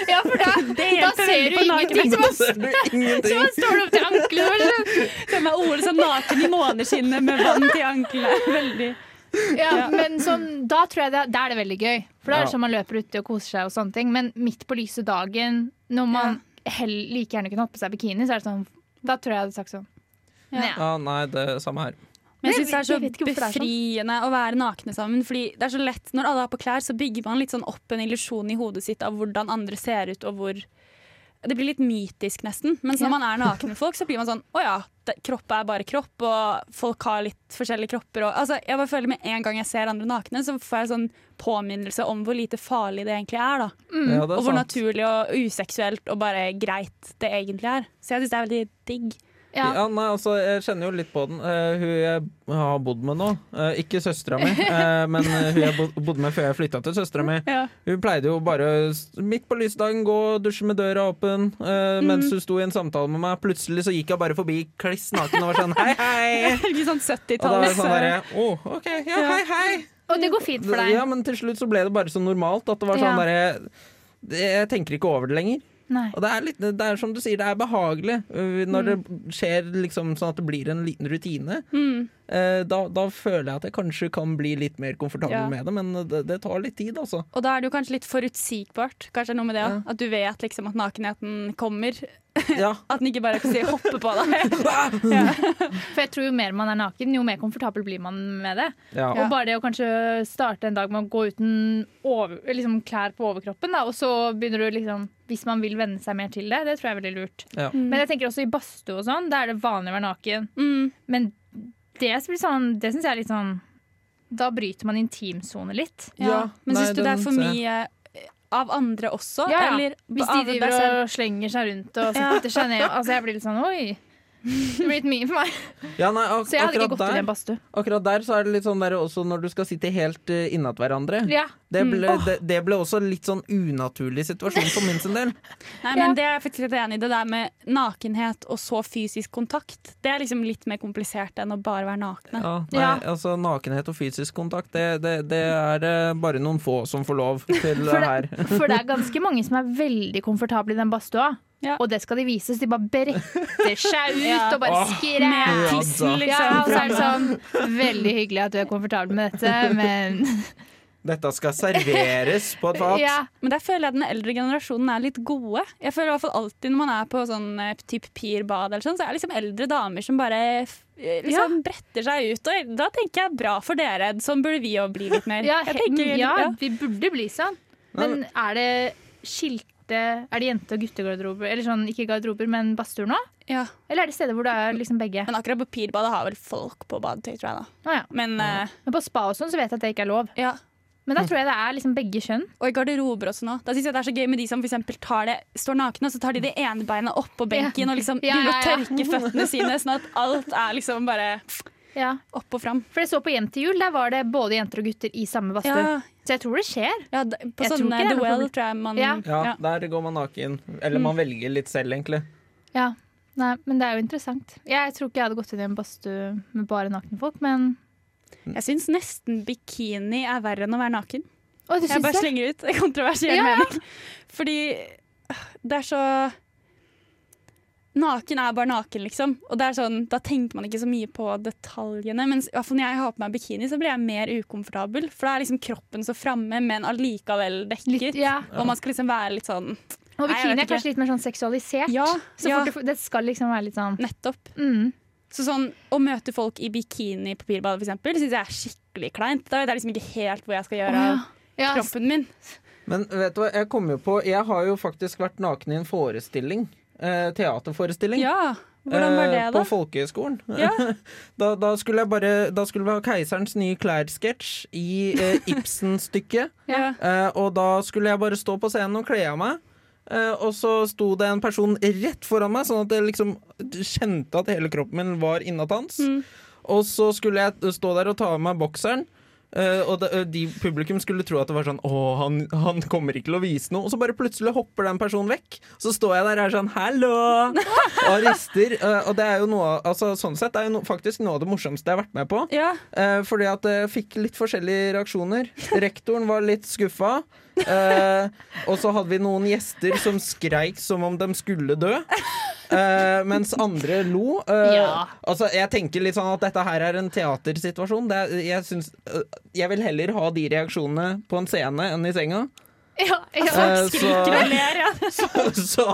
Speaker 1: Ja, for da, da
Speaker 3: hjelper
Speaker 1: ser du
Speaker 3: veldig på
Speaker 1: ingenting. Så
Speaker 2: Da
Speaker 1: bare,
Speaker 2: ser du
Speaker 1: så
Speaker 2: ingenting.
Speaker 1: bare står du opp til anklene. bare sånn.
Speaker 3: Hvem er Ole som naken i måneskinnet med vann til anklene? Veldig.
Speaker 1: Ja, men sånn, da tror jeg det, da er det veldig gøy. For da er
Speaker 2: Ja.
Speaker 1: det sånn man løper ute og koser seg og sånne ting. Men midt på lyse dagen, når man hell, like gjerne kunne hatt på seg bikini, så er det sånn Da tror jeg jeg hadde sagt sånn.
Speaker 3: Ja.
Speaker 1: Nei.
Speaker 2: Ja, nei, det er samme her.
Speaker 3: Men jeg
Speaker 1: Men jeg
Speaker 3: syns det er
Speaker 1: vet- jeg vet ikke hvorfor
Speaker 3: så
Speaker 1: det er sånn.
Speaker 3: befriende å være nakne sammen. Fordi det er så lett, Når alle har på klær, så bygger man litt sånn opp en illusjon i hodet sitt av hvordan andre ser ut. og hvor... Det blir litt mytisk, nesten. Mens når man er naken med folk, så blir man sånn Å ja, det, kropp er bare kropp, og folk har litt forskjellige kropper. Og, altså, jeg bare føler Med en gang jeg ser andre nakne, så får jeg sånn påminnelse om hvor lite farlig det egentlig er. da.
Speaker 2: Ja, det
Speaker 3: Og
Speaker 2: er
Speaker 3: hvor
Speaker 2: sant.
Speaker 3: naturlig og useksuelt og bare greit det egentlig er. Så jeg syns det er veldig digg.
Speaker 1: Ja.
Speaker 2: Ja, nei, altså, jeg kjenner jo litt på den. Eh, hun jeg har bodd med nå, eh, ikke søstera mi, eh, men eh, hun jeg bod- bodde med før jeg flytta til søstera mi,
Speaker 3: Ja.
Speaker 2: hun pleide jo bare s- midt på lysdagen gå og dusje med døra åpen eh, mens hun sto i en samtale med meg. Plutselig så gikk jeg bare forbi kliss naken og var sånn hei, hei.
Speaker 3: Litt sånn
Speaker 2: Og da var
Speaker 3: 70-tallet.
Speaker 2: det sånn derre Å, OK, ja, hei, hei.
Speaker 1: Og det går fint for deg.
Speaker 2: Ja, men til slutt så ble det bare så normalt at det var sånn
Speaker 1: Ja.
Speaker 2: derre det- Jeg tenker ikke over det lenger.
Speaker 1: Nei.
Speaker 2: Og det er, litt, det er som du sier, det er behagelig øh, når det skjer liksom sånn at det blir en liten rutine. Eh, Da, da føler jeg at jeg kanskje kan bli litt mer komfortabel
Speaker 3: Ja.
Speaker 2: med det, men det, det tar litt tid, altså.
Speaker 3: Og da er det jo kanskje litt forutsigbart. Kanskje det er noe med det også, At du vet liksom at nakenheten kommer.
Speaker 2: Ja.
Speaker 3: At den ikke bare kan si hoppe på deg.
Speaker 1: For jeg tror jo mer man er naken, jo mer komfortabel blir man med det.
Speaker 2: Ja.
Speaker 1: Og bare det å kanskje starte en dag med å gå uten over, liksom klær på overkroppen, da, og så begynner du liksom Hvis man vil venne seg mer til det, det tror jeg er veldig lurt.
Speaker 2: Ja.
Speaker 1: Men jeg tenker også i badstue og sånn, da er det vanlig å være naken. Men det, blir sånn, det syns jeg er litt sånn Da bryter man intimsone litt.
Speaker 3: Ja.
Speaker 2: Ja,
Speaker 3: Men
Speaker 2: nei,
Speaker 3: syns du det er
Speaker 2: den
Speaker 3: for
Speaker 2: ser jeg.
Speaker 3: mye eh, av andre også?
Speaker 1: Ja, ja.
Speaker 3: Eller
Speaker 1: Hvis de
Speaker 3: av deg
Speaker 1: driver
Speaker 3: selv?
Speaker 1: og slenger seg rundt og setter seg ned. Altså Jeg blir litt sånn oi. Det blir litt mye for meg.
Speaker 2: Ja, nei, ak
Speaker 1: Så jeg hadde ikke
Speaker 2: akkurat,
Speaker 1: gått inn i en
Speaker 2: der,
Speaker 1: badstue.
Speaker 2: akkurat der så er det litt sånn der også når du skal sitte helt uh, innat hverandre.
Speaker 1: Ja.
Speaker 2: Det ble, det, det ble også litt sånn unaturlig situasjon for min sin del.
Speaker 3: Nei,
Speaker 1: Ja.
Speaker 3: men Det er jeg faktisk litt enig i. Det der med nakenhet og så fysisk kontakt, det er liksom litt mer komplisert enn å bare være nakne.
Speaker 2: Ja, nei,
Speaker 1: Ja.
Speaker 2: altså Nakenhet og fysisk kontakt, det, det, det er eh, bare noen få som får lov til det her.
Speaker 1: For det er ganske mange som er veldig komfortable i den badstua.
Speaker 3: Ja.
Speaker 1: Og det skal de vises. De bare bretter seg ut
Speaker 3: Ja.
Speaker 1: og bare
Speaker 3: Med
Speaker 1: skræs.
Speaker 2: altså.
Speaker 1: Ja, og
Speaker 3: tissen, liksom.
Speaker 1: så er det sånn Veldig hyggelig at du er komfortabel med dette, men
Speaker 2: Dette skal serveres på et fat.
Speaker 1: ja.
Speaker 3: Men der føler jeg den eldre generasjonen er litt gode. Jeg føler i hvert fall alltid når man er på sånn eh, typ pirbad eller sånn, så er det liksom eldre damer som bare eh, liksom bretter seg ut. Og da tenker jeg bra for dere. Sånn burde vi jo bli litt mer.
Speaker 1: Ja,
Speaker 3: jeg tenker,
Speaker 1: ja,
Speaker 3: ja.
Speaker 1: vi burde bli sånn. Men er det skilte Er det jente- og guttegarderober? Eller sånn, ikke garderober, men badstuer nå?
Speaker 3: Ja.
Speaker 1: Eller er det steder hvor det er liksom begge?
Speaker 3: Men akkurat på pirbadet har vel folk på badetøy, tror jeg da.
Speaker 1: Å, ja.
Speaker 3: Men eh,
Speaker 1: Men på spa og sånn så vet jeg at det ikke er lov.
Speaker 3: ja.
Speaker 1: Men da tror jeg det er liksom begge kjønn.
Speaker 3: Og i garderober også nå. Da synes jeg det er så gøy med de som for eksempel tar det, står nakne, og så tar de det ene beinet oppå benken og liksom
Speaker 1: Ja, ja, ja.
Speaker 3: begynner å tørke føttene sine, sånn at alt er liksom bare
Speaker 1: Ja.
Speaker 3: opp og fram.
Speaker 1: For jeg så på Hjem til jul, der var det både jenter og gutter i samme badstue.
Speaker 3: Ja.
Speaker 1: Så jeg tror det skjer.
Speaker 3: Ja, d- på
Speaker 1: Jeg tror
Speaker 3: sånne
Speaker 1: ikke det er
Speaker 3: The
Speaker 1: noe
Speaker 3: Well
Speaker 1: problem.
Speaker 3: tror jeg man
Speaker 1: Ja.
Speaker 2: Ja, der går man naken. Eller man
Speaker 3: Mm.
Speaker 2: velger litt selv, egentlig.
Speaker 1: Ja. Nei, men det er jo interessant. Jeg tror ikke jeg hadde gått inn i en badstue med bare nakne folk, men
Speaker 3: Jeg syns nesten bikini er verre enn å være naken.
Speaker 1: Å, du
Speaker 3: Jeg
Speaker 1: syns
Speaker 3: bare
Speaker 1: det?
Speaker 3: slenger ut en kontroversiell
Speaker 1: Ja, ja.
Speaker 3: mening. Fordi øh, det er så Naken er bare naken, liksom. Og det er sånn, Da tenker man ikke så mye på detaljene. Mens i hvert fall når jeg har på meg bikini, så blir jeg mer ukomfortabel. For da er liksom kroppen så framme, men allikevel dekket.
Speaker 1: Litt, ja.
Speaker 3: Og man skal liksom være litt sånn
Speaker 1: Og
Speaker 3: Nei, jeg vet
Speaker 1: bikini er
Speaker 3: ikke.
Speaker 1: kanskje litt mer sånn seksualisert.
Speaker 3: Ja,
Speaker 1: Så
Speaker 3: ja
Speaker 1: fort du, får- det skal liksom være litt sånn
Speaker 3: nettopp.
Speaker 1: mm.
Speaker 3: Så sånn, Å møte folk i bikini på pirbadet for eksempel, syns jeg er skikkelig kleint. Da vet jeg liksom ikke helt hvor jeg skal gjøre av
Speaker 1: Ja,
Speaker 3: kroppen min.
Speaker 2: Men vet du hva, jeg kom jo på Jeg har jo faktisk vært naken i en forestilling. Eh, teaterforestilling.
Speaker 3: Ja, Hvordan var
Speaker 2: eh,
Speaker 3: det, da?
Speaker 2: På folkehøyskolen.
Speaker 3: Ja.
Speaker 2: Da, da skulle jeg bare Da skulle vi ha Keiserens nye klær-sketsj i eh, Ibsen-stykket.
Speaker 3: Ja.
Speaker 2: Eh, og da skulle jeg bare stå på scenen og kle av meg. Eh, og så sto det en person rett foran meg, sånn at jeg liksom kjente at hele kroppen min var innat hans. Og så skulle jeg stå der og ta av meg bokseren. eh, og de, de publikum skulle tro at det var sånn Å, han, han kommer ikke til å vise noe. Og så bare plutselig hopper den personen vekk. Så står jeg der og er sånn Hallo! Og rister. eh, og det er jo noe av- altså, Sånn sett det er jo no, faktisk noe av det morsomste jeg har vært med på.
Speaker 3: Ja.
Speaker 2: Eh, fordi at jeg fikk litt forskjellige reaksjoner. Rektoren var litt skuffa. Eh, og så hadde vi noen gjester som skreik som om de skulle dø. Eh, mens andre lo. Eh,
Speaker 1: Ja.
Speaker 2: Altså, jeg tenker litt sånn at dette her er en teatersituasjon. Det er, jeg, syns, eh, jeg vil heller ha de reaksjonene på en scene enn i senga.
Speaker 1: ja, ja.
Speaker 2: Eh, så,
Speaker 3: ler, ja.
Speaker 2: så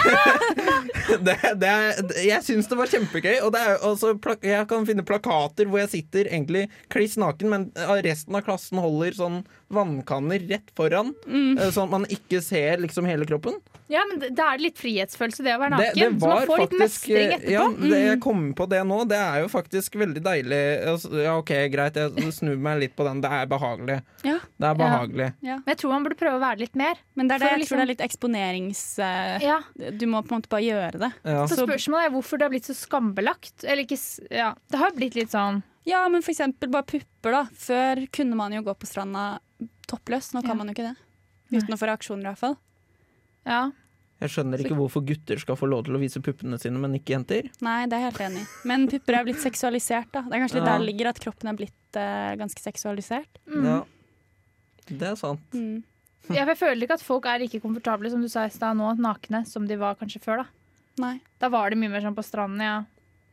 Speaker 2: det, det, det er, Jeg syns det var kjempegøy. Og det er, jo også pla- jeg kan finne plakater hvor jeg sitter egentlig kliss naken, men eh, resten av klassen holder sånn vannkanner rett foran,
Speaker 1: Mm.
Speaker 2: eh, sånn at man ikke ser liksom hele kroppen.
Speaker 1: ja, men da er det litt frihetsfølelse, det å være
Speaker 2: Det,
Speaker 1: naken.
Speaker 2: det
Speaker 1: så
Speaker 2: var
Speaker 1: man får litt
Speaker 2: faktisk eh,
Speaker 1: mestring etterpå. Mm.
Speaker 2: ja, det, Jeg kom på det nå. Det er jo faktisk veldig deilig. Altså, Ja, OK, greit, jeg snur meg litt på den. Det er behagelig.
Speaker 3: Ja.
Speaker 2: Det er behagelig.
Speaker 1: Men jeg tror man burde prøve å være litt mer.
Speaker 3: Men det er
Speaker 1: For å
Speaker 3: det, jeg
Speaker 1: liksom-
Speaker 3: tror det er litt eksponerings... eh,
Speaker 1: Ja.
Speaker 3: Du må på en måte bare gjøre det.
Speaker 2: Ja.
Speaker 1: Så spørsmålet er hvorfor det har blitt så skambelagt. Eller ikke s- Ja, det har blitt litt sånn
Speaker 3: Ja, men for eksempel bare pupper, da. Før kunne man jo gå på stranda toppløs. Nå kan
Speaker 1: Ja.
Speaker 3: man jo ikke det. Uten å få reaksjoner, i hvert fall.
Speaker 1: Ja.
Speaker 2: Jeg skjønner ikke hvorfor gutter skal få lov til å vise puppene sine, men ikke jenter.
Speaker 3: Nei, det er jeg helt enig i. Men pupper er blitt seksualisert, da. Det er kanskje litt
Speaker 2: Ja.
Speaker 3: der det ligger at kroppen er blitt eh, ganske seksualisert.
Speaker 2: Ja. Det er sant.
Speaker 3: Mm.
Speaker 1: Ja, for jeg føler ikke at folk er like komfortable som du sa i stad nå, nakne, som de var kanskje før. Da
Speaker 3: Nei.
Speaker 1: Da var det mye mer sånn på stranden, ja.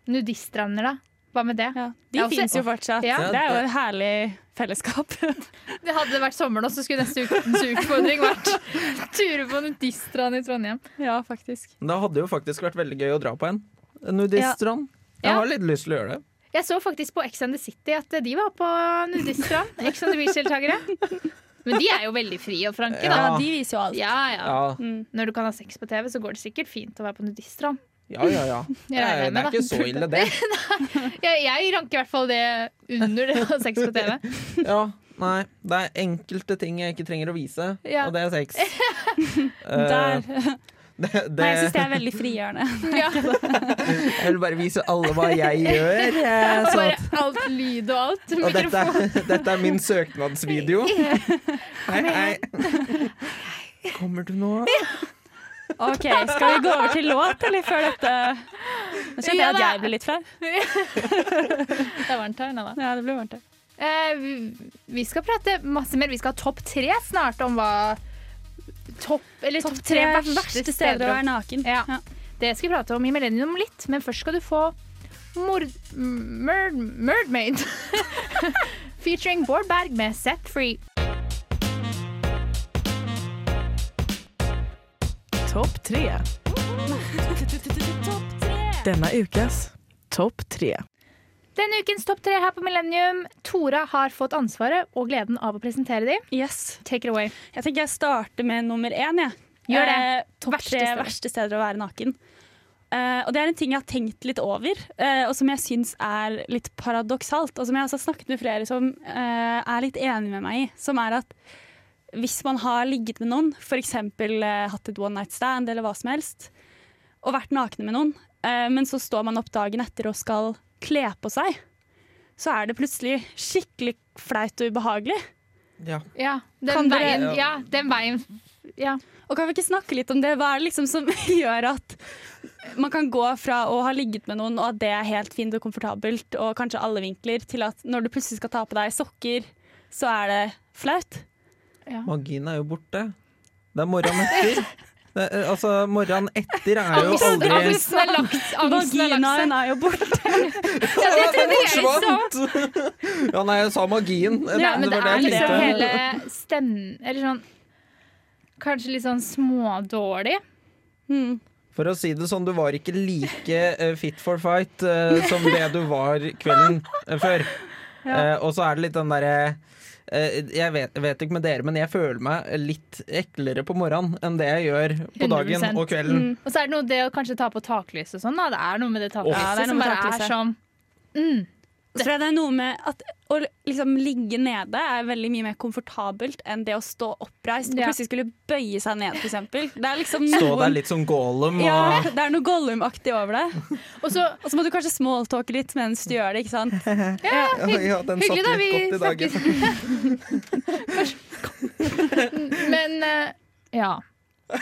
Speaker 1: Nudiststrender, da. Hva med det?
Speaker 3: Ja. De
Speaker 1: Ja, og så-
Speaker 3: finnes jo fortsatt.
Speaker 1: Ja.
Speaker 3: Det er jo et herlig fellesskap.
Speaker 1: Det hadde vært sommer nå, så skulle neste ukens utfordring vært ture på nudistrand i Trondheim.
Speaker 3: ja, faktisk.
Speaker 2: Men Det hadde jo faktisk vært veldig gøy å dra på en. En nudiststrand. Jeg
Speaker 1: Ja.
Speaker 2: har litt lyst til å gjøre det.
Speaker 1: Jeg så faktisk på Ex and the City at eh, de var på nudiststrand. Ex on the Beach-deltakere. Men de er jo veldig frie og franke,
Speaker 2: Ja.
Speaker 1: da.
Speaker 3: Ja, de viser jo alt.
Speaker 1: Ja, ja.
Speaker 2: Ja,
Speaker 1: Når du kan ha sex på TV, så går det sikkert fint å være på nudiststrand.
Speaker 2: ja, ja. ja. Det,
Speaker 1: regner
Speaker 2: er,
Speaker 1: med
Speaker 2: det er
Speaker 1: det.
Speaker 2: ikke så ille, det.
Speaker 1: Jeg, jeg ranker i hvert fall det under det å ha sex på TV.
Speaker 2: Ja, nei. Det er enkelte ting jeg ikke trenger å vise,
Speaker 1: Ja.
Speaker 2: og det er sex.
Speaker 3: Der.
Speaker 2: Eh, det, det,
Speaker 3: Nei, jeg syns det er veldig frigjørende.
Speaker 1: Ja,
Speaker 2: jeg vil bare vise alle hva jeg gjør. eh, sånn
Speaker 1: bare
Speaker 2: at-
Speaker 1: alt lyd og alt.
Speaker 2: og dette,
Speaker 1: Mikrofon.
Speaker 2: dette er min søknadsvideo. Hei, hei. Kommer du nå?
Speaker 3: Ok, Skal vi gå over til låt, eller før dette Nå kjente jeg
Speaker 1: Ja,
Speaker 3: at
Speaker 1: da.
Speaker 3: jeg ble litt flau.
Speaker 1: Det er varmt her nå, da.
Speaker 3: Ja, det ble varmt her.
Speaker 1: Eh, vi- vi skal prate masse mer. Vi skal ha topp tre snart om hva Topp eller topp tre verste steder å være naken.
Speaker 3: naken.
Speaker 1: Ja.
Speaker 3: Ja.
Speaker 1: Det skal vi prate om i Millennium om litt, men først skal du få Mord... Merd... Merdmaid. Featuring Bård Berg med Set Free.
Speaker 9: Topp tre. Denne ukas topp tre.
Speaker 1: Denne ukens topp tre her på Millennium. Tora har fått ansvaret og gleden av å presentere de.
Speaker 3: Yes.
Speaker 1: Take it away.
Speaker 3: Jeg tenker jeg starter med nummer én. jeg.
Speaker 1: Gjør det.
Speaker 3: Eh, topp
Speaker 1: Verste
Speaker 3: tre
Speaker 1: steder.
Speaker 3: verste steder å være naken. Eh, og Det er en ting jeg har tenkt litt over, eh, og som jeg syns er litt paradoksalt. Og som jeg også har snakket med flere som eh, er litt enig med meg i. Som er at hvis man har ligget med noen, f.eks. Uh, hatt et one night stand eller hva som helst, og vært nakne med noen, eh, men så står man opp dagen etter og skal kle på seg, så er det plutselig skikkelig flaut og ubehagelig.
Speaker 2: Ja.
Speaker 1: Ja,
Speaker 3: Kan
Speaker 1: den
Speaker 3: dere-
Speaker 1: veien. Ja, den veien. Ja.
Speaker 3: Og kan vi ikke snakke litt om det? Hva er det liksom som gjør at man kan gå fra å ha ligget med noen, og at det er helt fint og komfortabelt, og kanskje alle vinkler, til at når du plutselig skal ta på deg sokker, så er det flaut?
Speaker 2: Magien er jo borte. Det er morgenen etter. Det, er- altså, morgenen etter er jo
Speaker 1: Angsten,
Speaker 2: aldri
Speaker 1: angsten er lagt. Angsten er lagt seg.
Speaker 3: Vaginaen er jo borte.
Speaker 2: Ja,
Speaker 1: det trodde jeg
Speaker 2: liksom- Ja, nei, jeg sa magien.
Speaker 1: Ja, men det
Speaker 2: var
Speaker 1: er
Speaker 2: jeg
Speaker 1: liksom
Speaker 2: tenkte.
Speaker 1: hele stemmen Eller sånn Kanskje litt sånn smådårlig.
Speaker 3: Mm.
Speaker 2: For å si det sånn, du var ikke like eh, fit for fight eh, som det du var kvelden eh, før. Eh, og så er det litt den derre eh, Jeg vet, vet ikke med dere, men jeg føler meg litt eklere på morgenen enn det jeg gjør på dagen
Speaker 1: 100%.
Speaker 2: og kvelden.
Speaker 1: Og så er det noe det å kanskje ta på taklys og sånn. Da. Det er noe med det taklyset
Speaker 3: Ja, det er noe
Speaker 1: som
Speaker 3: med
Speaker 1: bare
Speaker 3: taklyset.
Speaker 1: er sånn mm,
Speaker 3: Så tror jeg det er noe med at å liksom ligge nede er veldig mye mer komfortabelt enn det å stå oppreist og
Speaker 1: Ja.
Speaker 3: plutselig skulle bøye seg ned, for eksempel. Det er liksom
Speaker 2: Stå
Speaker 1: Mm.
Speaker 2: der
Speaker 3: noen
Speaker 2: litt som Gollum og
Speaker 3: ja, det er noe Gollum-aktig over det.
Speaker 1: Og så
Speaker 3: Og så må du kanskje smalltalke litt mens du gjør det, ikke sant?
Speaker 1: ja,
Speaker 2: Ja, ja, den satt
Speaker 1: Hyggelig, da.
Speaker 2: litt
Speaker 1: Vi
Speaker 2: godt i dagen.
Speaker 1: snakkes. Men eh, ja.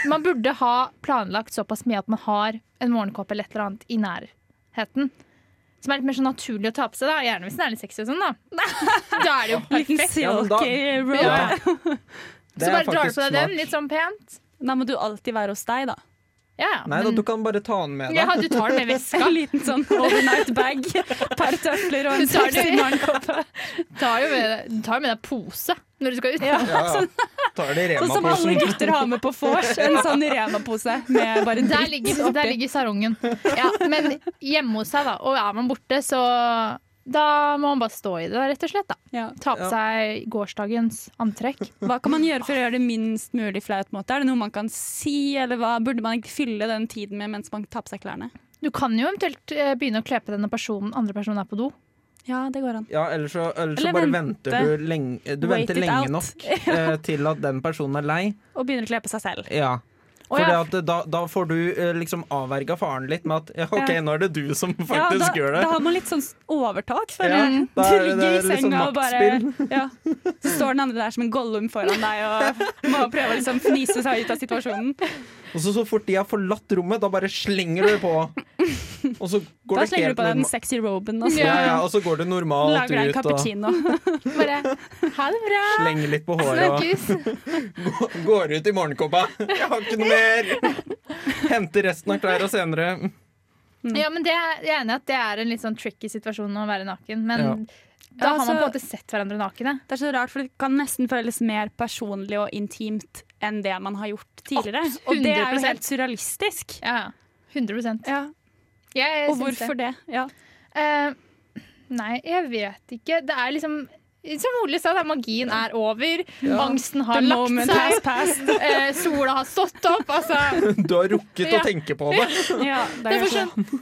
Speaker 1: Man burde ha planlagt såpass mye at man har en morgenkåpe eller et eller annet i nærheten. Som er litt mer sånn naturlig å ta på seg, da. gjerne hvis den er litt sexy og sånn. Da Da er det jo
Speaker 3: Liten
Speaker 1: perfekt.
Speaker 2: Ja, men da-
Speaker 3: silky robe.
Speaker 2: Ja.
Speaker 1: Så bare drar du på deg den
Speaker 2: smart.
Speaker 1: litt sånn pent.
Speaker 3: Da må du alltid være hos deg, da.
Speaker 1: Ja, ja.
Speaker 2: Nei da, du kan bare ta den med deg.
Speaker 1: Ja, du tar den med veska.
Speaker 3: En liten sånn overnight bag, par tøfler og en
Speaker 1: Du tar det.
Speaker 3: sexy morgenkoppe.
Speaker 1: Tar jo med, deg- du tar jo med deg pose når du skal ut.
Speaker 3: Ja.
Speaker 2: Ja, ja. Tar det i
Speaker 3: Sånn som alle
Speaker 2: Rema-posen.
Speaker 3: gutter har med på vors. En sånn Rema-pose med bare
Speaker 1: Der
Speaker 3: dritt
Speaker 1: ligger, der ligger sarongen. Ja, men hjemme hos seg, da, og er man borte, så da må man bare stå i det, rett og slett. da
Speaker 3: Ja.
Speaker 1: Ta på
Speaker 2: Ja.
Speaker 1: seg gårsdagens antrekk.
Speaker 3: Hva kan man gjøre for å gjøre det minst mulig flaut? måte? Er det noe man kan si, eller hva burde man ikke fylle den tiden med mens man tar på seg klærne?
Speaker 1: Du kan jo eventuelt eh, begynne å kle på denne personen andre personen er på do.
Speaker 3: Ja, det går an.
Speaker 2: Ja, eller så, eller så
Speaker 3: Eller
Speaker 2: bare
Speaker 3: vente.
Speaker 2: venter du lenge, du
Speaker 3: Wait
Speaker 2: venter
Speaker 3: it
Speaker 2: lenge
Speaker 3: out.
Speaker 2: nok eh, til at den personen er lei.
Speaker 3: Og begynner å kle på seg selv.
Speaker 2: Ja.
Speaker 1: Å,
Speaker 2: Fordi
Speaker 1: ja.
Speaker 2: at da, da får du eh, liksom avverga faren litt med at ja, OK,
Speaker 3: Ja.
Speaker 2: nå er det du som
Speaker 3: Ja, da,
Speaker 2: faktisk gjør det.
Speaker 3: da har man litt sånn overtak. føler
Speaker 2: Ja,
Speaker 3: jeg.
Speaker 2: da
Speaker 3: du
Speaker 2: er det-
Speaker 3: ligger i
Speaker 2: det er litt
Speaker 3: senga
Speaker 2: sånn
Speaker 3: og bare ja, Så står den andre der som en gollum foran deg og må prøve å liksom fnise seg ut av situasjonen.
Speaker 2: Og så, så fort de har forlatt rommet, da bare slenger du det på. Og så går
Speaker 3: Da
Speaker 2: det
Speaker 3: slenger du
Speaker 2: helt
Speaker 3: på deg den
Speaker 2: normalt.
Speaker 3: sexy roben og så
Speaker 2: Ja, ja, og så går det normalt
Speaker 3: lager deg en
Speaker 2: ut og
Speaker 3: cappuccino.
Speaker 1: Bare ha det bra!
Speaker 2: slenger litt på håret og
Speaker 1: Snakkes!
Speaker 2: går ut i morgenkåpa. Jeg har ikke noe mer! Henter resten av klærne senere.
Speaker 1: Ja, men det, er- jeg er enig i at det er en litt sånn tricky situasjon å være naken, men
Speaker 2: Ja.
Speaker 1: da
Speaker 3: Ja,
Speaker 1: har man på
Speaker 3: altså-
Speaker 1: en måte sett hverandre nakne.
Speaker 3: Det er så rart, for det kan nesten føles mer personlig og intimt enn det man har gjort tidligere.
Speaker 1: Absolutt.
Speaker 3: Og det er jo
Speaker 1: 100%.
Speaker 3: helt surrealistisk.
Speaker 1: Ja, ja. 100
Speaker 3: Ja.
Speaker 1: jeg syns
Speaker 3: Og
Speaker 1: det.
Speaker 3: hvorfor det? Ja.
Speaker 1: Eh, nei, jeg vet ikke. Det er liksom som Ole sa, det er magien er over. Angsten har
Speaker 3: The
Speaker 1: lagt
Speaker 3: moment
Speaker 1: seg.
Speaker 3: has passed.
Speaker 1: eh, sola har stått opp. Altså.
Speaker 2: Du har rukket
Speaker 1: Ja.
Speaker 2: å tenke på det.
Speaker 3: Ja, det
Speaker 1: Det
Speaker 3: er
Speaker 1: var
Speaker 3: jo sånn.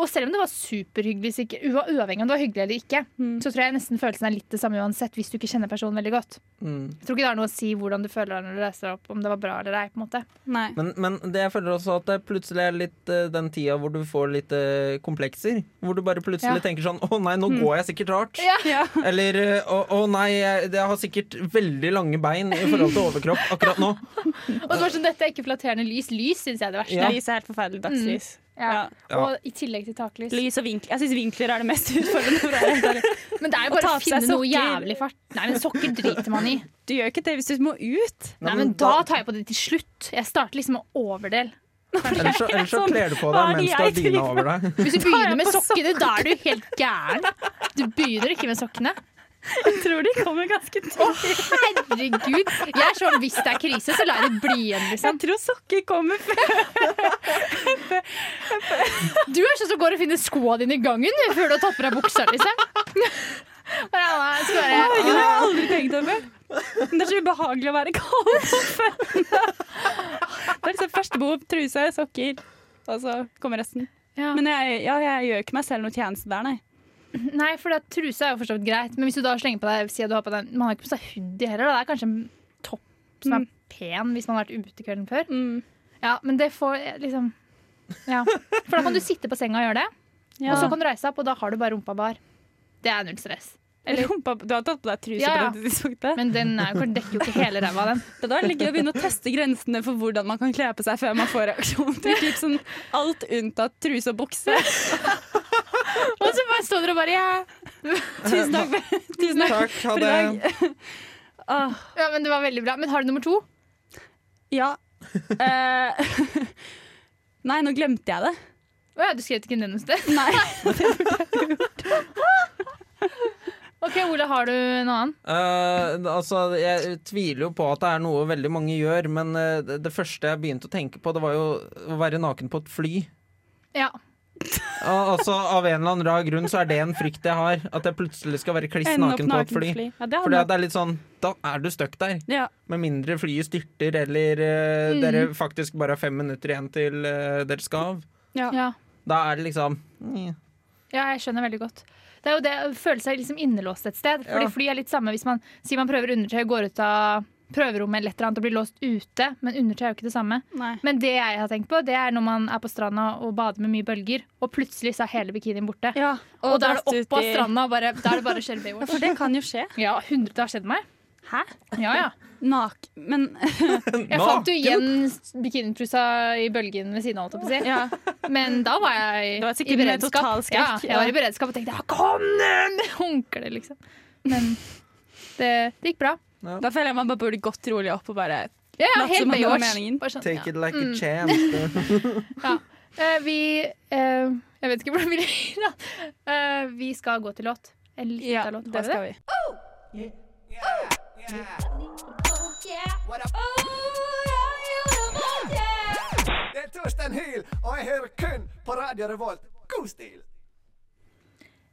Speaker 1: Og selv om det var superhyggelig, sikkert, ua- uavhengig om det var hyggelig eller ikke,
Speaker 3: Mm.
Speaker 1: så tror jeg nesten følelsen er litt det samme uansett, hvis du ikke kjenner personen veldig godt.
Speaker 3: Mm.
Speaker 1: Jeg tror ikke det har noe å si hvordan du føler deg når du reiser deg opp, om det var bra eller ei. på en måte.
Speaker 3: Nei.
Speaker 2: Men, men det jeg føler også at det plutselig er litt eh, den tida hvor du får litt eh, komplekser. Hvor du bare plutselig
Speaker 1: Ja. Mm.
Speaker 2: tenker sånn Å nei, nå går jeg sikkert rart.
Speaker 3: Ja.
Speaker 2: Eller eh, å, å nei, jeg, jeg har sikkert veldig lange bein i forhold til overkropp akkurat nå.
Speaker 1: Og så var det sånn, dette er ikke flatterende lys. Lys syns jeg er det verste.
Speaker 2: Ja.
Speaker 3: Lys er helt forferdelig dagslys.
Speaker 1: Ja.
Speaker 3: Mm. Ja.
Speaker 1: Og i tillegg til taklys.
Speaker 3: Lys og vinkler. Jeg syns vinkler er det mest utfordrende. for å være helt ærlig.
Speaker 1: Men det er jo
Speaker 3: Å
Speaker 1: bare
Speaker 3: ta
Speaker 1: å
Speaker 3: på seg
Speaker 1: finne noe
Speaker 3: sokker.
Speaker 1: jævlig fart. Nei, men sokker driter man i.
Speaker 3: Du gjør jo ikke det hvis du må ut.
Speaker 1: Nei, men da tar jeg på det til slutt. Jeg starter liksom med overdel.
Speaker 2: Ellers så, ellers så
Speaker 3: Sånn,
Speaker 2: kler du på
Speaker 3: hva
Speaker 2: deg
Speaker 3: er det
Speaker 2: mens du har
Speaker 3: jeg
Speaker 2: dyna
Speaker 3: driver
Speaker 2: over deg.
Speaker 1: Hvis du begynner med
Speaker 3: på
Speaker 1: sokkene, da er du helt gæren. Du begynner ikke med sokkene.
Speaker 3: Jeg tror de kommer ganske tidlig.
Speaker 1: Herregud. Jeg er sånn hvis det er krise, så lar jeg det bli igjen, liksom.
Speaker 3: Jeg tror sokker kommer før.
Speaker 1: Du er sånn som går og finner skoa dine i gangen før du har tatt på deg buksa, liksom. Bare, ja, nei, jeg skal
Speaker 3: Det
Speaker 1: være-
Speaker 3: har jeg aldri tenkt over. Men det er så ubehagelig å være kald på føttene. Det er liksom første behov truse, sokker, og så kommer resten.
Speaker 1: Ja.
Speaker 3: Men jeg, ja, jeg gjør ikke meg selv noe tjeneste der, nei.
Speaker 1: Nei, for det, truse er jo for så vidt greit, men hvis du da slenger på deg si at du har på deg, Man har ikke på seg hoodie heller, da. Det er kanskje en topp
Speaker 3: Mm.
Speaker 1: som er pen hvis man har vært ute kvelden før. Ja, men det får eh, liksom Ja. For da kan du sitte på senga og gjøre det,
Speaker 3: Ja.
Speaker 1: og så kan du reise deg opp, og da har du bare rumpa bar. Det er null stress.
Speaker 3: Eller rumpa Du har tatt på deg truse
Speaker 1: Ja, ja.
Speaker 3: på dette tidspunktet.
Speaker 1: Men den er jo, dekker jo ikke hele ræva, den.
Speaker 3: Det hadde vært litt gøy å begynne å teste grensene for hvordan man kan kle på seg før man får reaksjon. Det er typ sånn alt unntatt truse og bukse.
Speaker 1: Og så bare står dere og bare ja.
Speaker 3: Tusen takk. for- Tusen takk.
Speaker 2: Takk, ha
Speaker 3: for i
Speaker 2: det.
Speaker 3: dag. Ah. Åh,
Speaker 1: ja, men det var veldig bra. Men har du nummer to?
Speaker 3: ja. Eh, nei, nå glemte jeg det.
Speaker 1: Å ja, du skrev ikke ned noe sted.
Speaker 3: Nei.
Speaker 1: OK, Ole, har du en annen?
Speaker 2: Eh, altså, jeg tviler jo på at det er noe veldig mange gjør, men eh, det, det første jeg begynte å tenke på, det var jo å være naken på et fly.
Speaker 1: Ja.
Speaker 2: Al- altså, Av en eller annen rar grunn så er det en frykt jeg har. At jeg plutselig skal være kliss
Speaker 3: Ende opp
Speaker 2: naken på et fly.
Speaker 3: Ja, det
Speaker 2: Fordi
Speaker 3: hadde
Speaker 2: at det er litt sånn, Da er du stuck der.
Speaker 3: ja.
Speaker 2: Med mindre flyet styrter, eller eh,
Speaker 1: Mm.
Speaker 2: dere faktisk bare har fem minutter igjen til eh, dere skal av.
Speaker 1: ja.
Speaker 2: Da er det liksom mm,
Speaker 1: Ja, jeg skjønner veldig godt. Det er jo det å føle seg liksom innelåst et sted. Fordi
Speaker 2: Ja.
Speaker 1: fly er litt samme hvis man sier man prøver undertøy, går ut av prøverommet eller et eller annet og blir låst ute, men undertøy er jo ikke det samme.
Speaker 3: Nei.
Speaker 1: Men det jeg har tenkt på, det er når man er på stranda og bader med mye bølger, og plutselig så er hele bikinien borte.
Speaker 3: Ja,
Speaker 1: Og, da er
Speaker 3: dratt
Speaker 1: det
Speaker 3: ut
Speaker 1: opp av
Speaker 3: i-
Speaker 1: stranda, og bare, da er det bare å kjøre
Speaker 3: Ja,
Speaker 1: Baywatch.
Speaker 3: for det kan jo skje.
Speaker 1: Ja, 100 det har skjedd meg.
Speaker 3: Hæ?
Speaker 1: Ja, ja.
Speaker 3: Nak... Men
Speaker 1: Jeg fant jo igjen bikinitrusa i bølgen ved siden av, holdt jeg på å si.
Speaker 3: ja.
Speaker 1: Men da var jeg
Speaker 3: Det var
Speaker 1: i
Speaker 3: sikkert med
Speaker 1: beredskap.
Speaker 3: total skrekk,
Speaker 1: Ja, jeg
Speaker 3: ja.
Speaker 1: var i beredskap og tenkte ja, kom den! Hunker det, liksom. Men det, det gikk bra.
Speaker 3: da føler jeg man bare burde gått rolig opp og bare
Speaker 1: Ja, ja,
Speaker 3: Latt
Speaker 1: helt
Speaker 3: som om det var
Speaker 1: Baywatch.
Speaker 3: meningen.
Speaker 1: Bare sånn,
Speaker 2: Take
Speaker 1: ja.
Speaker 2: it like a chance.
Speaker 1: Eh, vi eh, Jeg vet ikke hvordan vi ligger an. Eh, vi skal gå til låt. En liten
Speaker 3: Ja,
Speaker 1: låt.
Speaker 3: det skal vi.
Speaker 4: Oh,
Speaker 6: Det er Torsten Hyl, og jeg hører kun på Radio Revolt. God stil!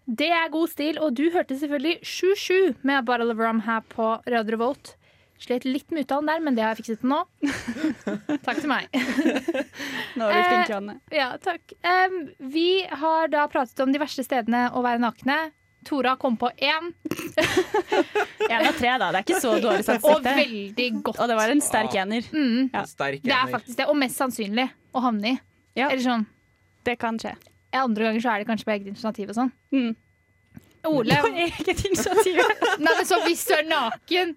Speaker 1: Det er god stil, og du hørte selvfølgelig 7-7 med Bottle of Rum her på Radio Revolt. Slet litt med uttalen der, men det har jeg fikset til nå. Takk til meg.
Speaker 3: Nå er vi flinke, Anne.
Speaker 1: Ja, takk. Em, vi har da pratet om de verste stedene å være nakne. Tora kom på én,
Speaker 3: Én av tre, da. Det er ikke så
Speaker 1: og
Speaker 3: dårlig statistikk. det.
Speaker 1: veldig godt.
Speaker 3: Og det var en sterk ener. Ja.
Speaker 2: Sterk
Speaker 1: Det er
Speaker 2: ener.
Speaker 1: faktisk det, og mest sannsynlig å havne i.
Speaker 3: Ja.
Speaker 1: Eller sånn,
Speaker 3: Det kan skje.
Speaker 1: ja, Andre ganger så er det kanskje på eget initiativ og sånn.
Speaker 3: Mm.
Speaker 1: Ole,
Speaker 3: På eget initiativ.
Speaker 1: nei, men så hvis du er naken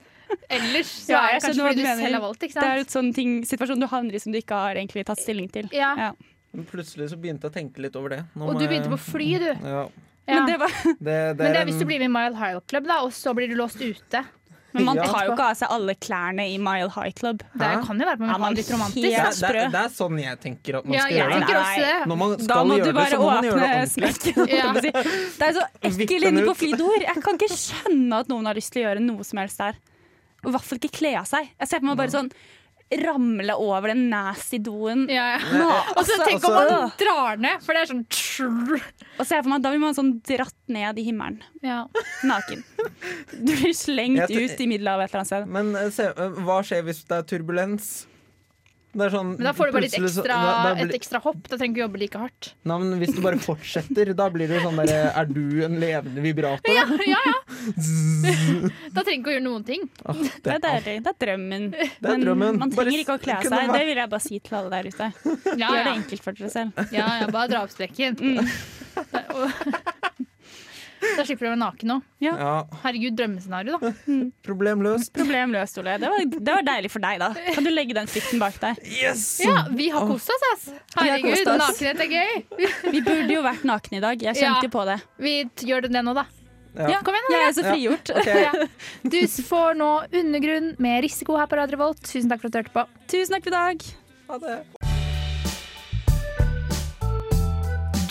Speaker 1: ellers, så
Speaker 3: Ja,
Speaker 1: er det
Speaker 3: jeg skjønner
Speaker 1: kanskje
Speaker 3: hva
Speaker 1: fordi
Speaker 3: du
Speaker 1: du
Speaker 3: mener.
Speaker 1: selv har valgt, ikke
Speaker 3: Det er
Speaker 1: sant?
Speaker 3: et sånn ting, situasjon du havner i som du ikke har egentlig tatt stilling til.
Speaker 1: Ja.
Speaker 2: Men Plutselig så begynte jeg å tenke litt over det. Nå
Speaker 1: Og
Speaker 2: må
Speaker 1: du
Speaker 2: jeg-
Speaker 1: begynte på fly, du.
Speaker 2: ja.
Speaker 1: Ja.
Speaker 3: Men det var
Speaker 2: det, det
Speaker 1: Men det
Speaker 2: er
Speaker 1: er hvis
Speaker 2: en-
Speaker 1: du blir med i Mile High Club, da, og så blir du låst ute.
Speaker 3: Men man
Speaker 2: Ja.
Speaker 3: tar jo ikke av seg alle klærne i Mile High Club.
Speaker 1: Det
Speaker 2: Hæ?
Speaker 1: kan jo være på
Speaker 3: Er
Speaker 1: man
Speaker 3: man
Speaker 1: er litt romantisk.
Speaker 2: Det
Speaker 3: helt
Speaker 2: er, det, er,
Speaker 3: sprø?
Speaker 2: det er sånn jeg tenker at man
Speaker 1: Ja,
Speaker 2: skal
Speaker 1: jeg
Speaker 2: gjøre det.
Speaker 1: tenker også det.
Speaker 2: Når man
Speaker 3: Da
Speaker 2: skal
Speaker 3: må
Speaker 2: gjøre
Speaker 3: du
Speaker 2: det,
Speaker 3: bare
Speaker 2: så må man gjøre det
Speaker 3: åpne
Speaker 2: ordentlig.
Speaker 3: smekken. holdt jeg på å si. Det er så
Speaker 2: Vipp
Speaker 3: ekkel
Speaker 2: den
Speaker 3: inne på
Speaker 2: ut.
Speaker 3: Fridor. Jeg kan ikke skjønne at noen har lyst til å gjøre noe som helst der. Og i hvert fall ikke kle av seg. Jeg ser på meg bare sånn ramle over den nasty doen.
Speaker 1: Ja, ja.
Speaker 3: Nå,
Speaker 1: Og så
Speaker 3: altså,
Speaker 1: tenk om man drar ned, for det er sånn
Speaker 3: Og ser jeg for meg, Da blir man sånn dratt ned i himmelen,
Speaker 1: ja.
Speaker 3: naken. Du blir
Speaker 2: Jeg
Speaker 3: slengt
Speaker 2: tror-
Speaker 3: ut i middelhavet et eller annet sted.
Speaker 2: Men eh, se, eh, hva skjer hvis det er turbulens? Det er sånn,
Speaker 1: Men da får du bare litt
Speaker 2: plutselig så-
Speaker 1: ekstra,
Speaker 2: da- da blir-
Speaker 1: et ekstra hopp. Da trenger du ikke jobbe like hardt.
Speaker 2: Nei, men Hvis du bare fortsetter, da blir det jo sånn derre Er du en levende vibrator?
Speaker 1: Ja, ja, ja. Da trenger du ikke å gjøre noen ting.
Speaker 2: Ah,
Speaker 3: Det
Speaker 2: det,
Speaker 3: er, deilig. det er drømmen.
Speaker 2: er drømmen.
Speaker 3: Men man
Speaker 2: Bare
Speaker 3: trenger ikke å kle av
Speaker 2: kunne
Speaker 3: seg.
Speaker 2: vært-
Speaker 3: Det vil jeg bare si til alle der ute.
Speaker 1: Ja,
Speaker 3: Gjør det
Speaker 1: ja.
Speaker 3: enkelt for dere selv.
Speaker 1: ja, ja bare dra opp streken. Da slipper du å være naken nå.
Speaker 2: ja,
Speaker 1: Herregud, drømmescenario, da.
Speaker 2: problem løst.
Speaker 3: Problem løst, Ole. Det var, det var deilig for deg, da. Kan du legge den frykten bak deg?
Speaker 2: Yes!
Speaker 1: Ja, vi har kost oss, ass. Herregud,
Speaker 3: kost oss.
Speaker 1: nakenhet er gøy.
Speaker 3: Vi burde jo vært nakne i dag. Jeg
Speaker 1: Ja.
Speaker 3: kjente jo på det.
Speaker 1: Vi t- gjør det nå, da.
Speaker 2: Ja.
Speaker 1: Kom igjen,
Speaker 3: Jeg er så frigjort.
Speaker 2: Ok.
Speaker 1: Du får nå Undergrunn med risiko her på Radio Revolt. Tusen takk for at du hørte på.
Speaker 3: Tusen takk for i dag.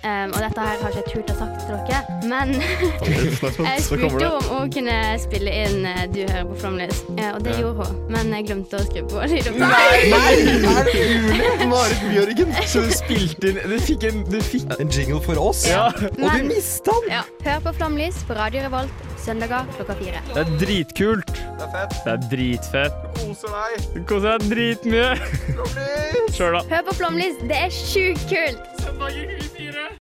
Speaker 10: Um, og dette her har jeg ikke turt å sagt til dere, men jeg spurte jo om hun kunne spille inn eh, Du hører på Flomlys, eh, og det gjorde hun. Men jeg glemte å skru på lydopptaket.
Speaker 11: Marit Bjørgen, så du spilte inn Du fikk en, du fikk en jingle for oss, og du
Speaker 10: Men-
Speaker 11: mista den!
Speaker 10: Ja. Hør på Flomlys på Radio Revolt søndager klokka fire.
Speaker 11: Det er dritkult. Det er fett. Det er dritfett. Du koser deg dritmye. Sjøl, da.
Speaker 10: Hør på Flomlys, det er sjukt kult!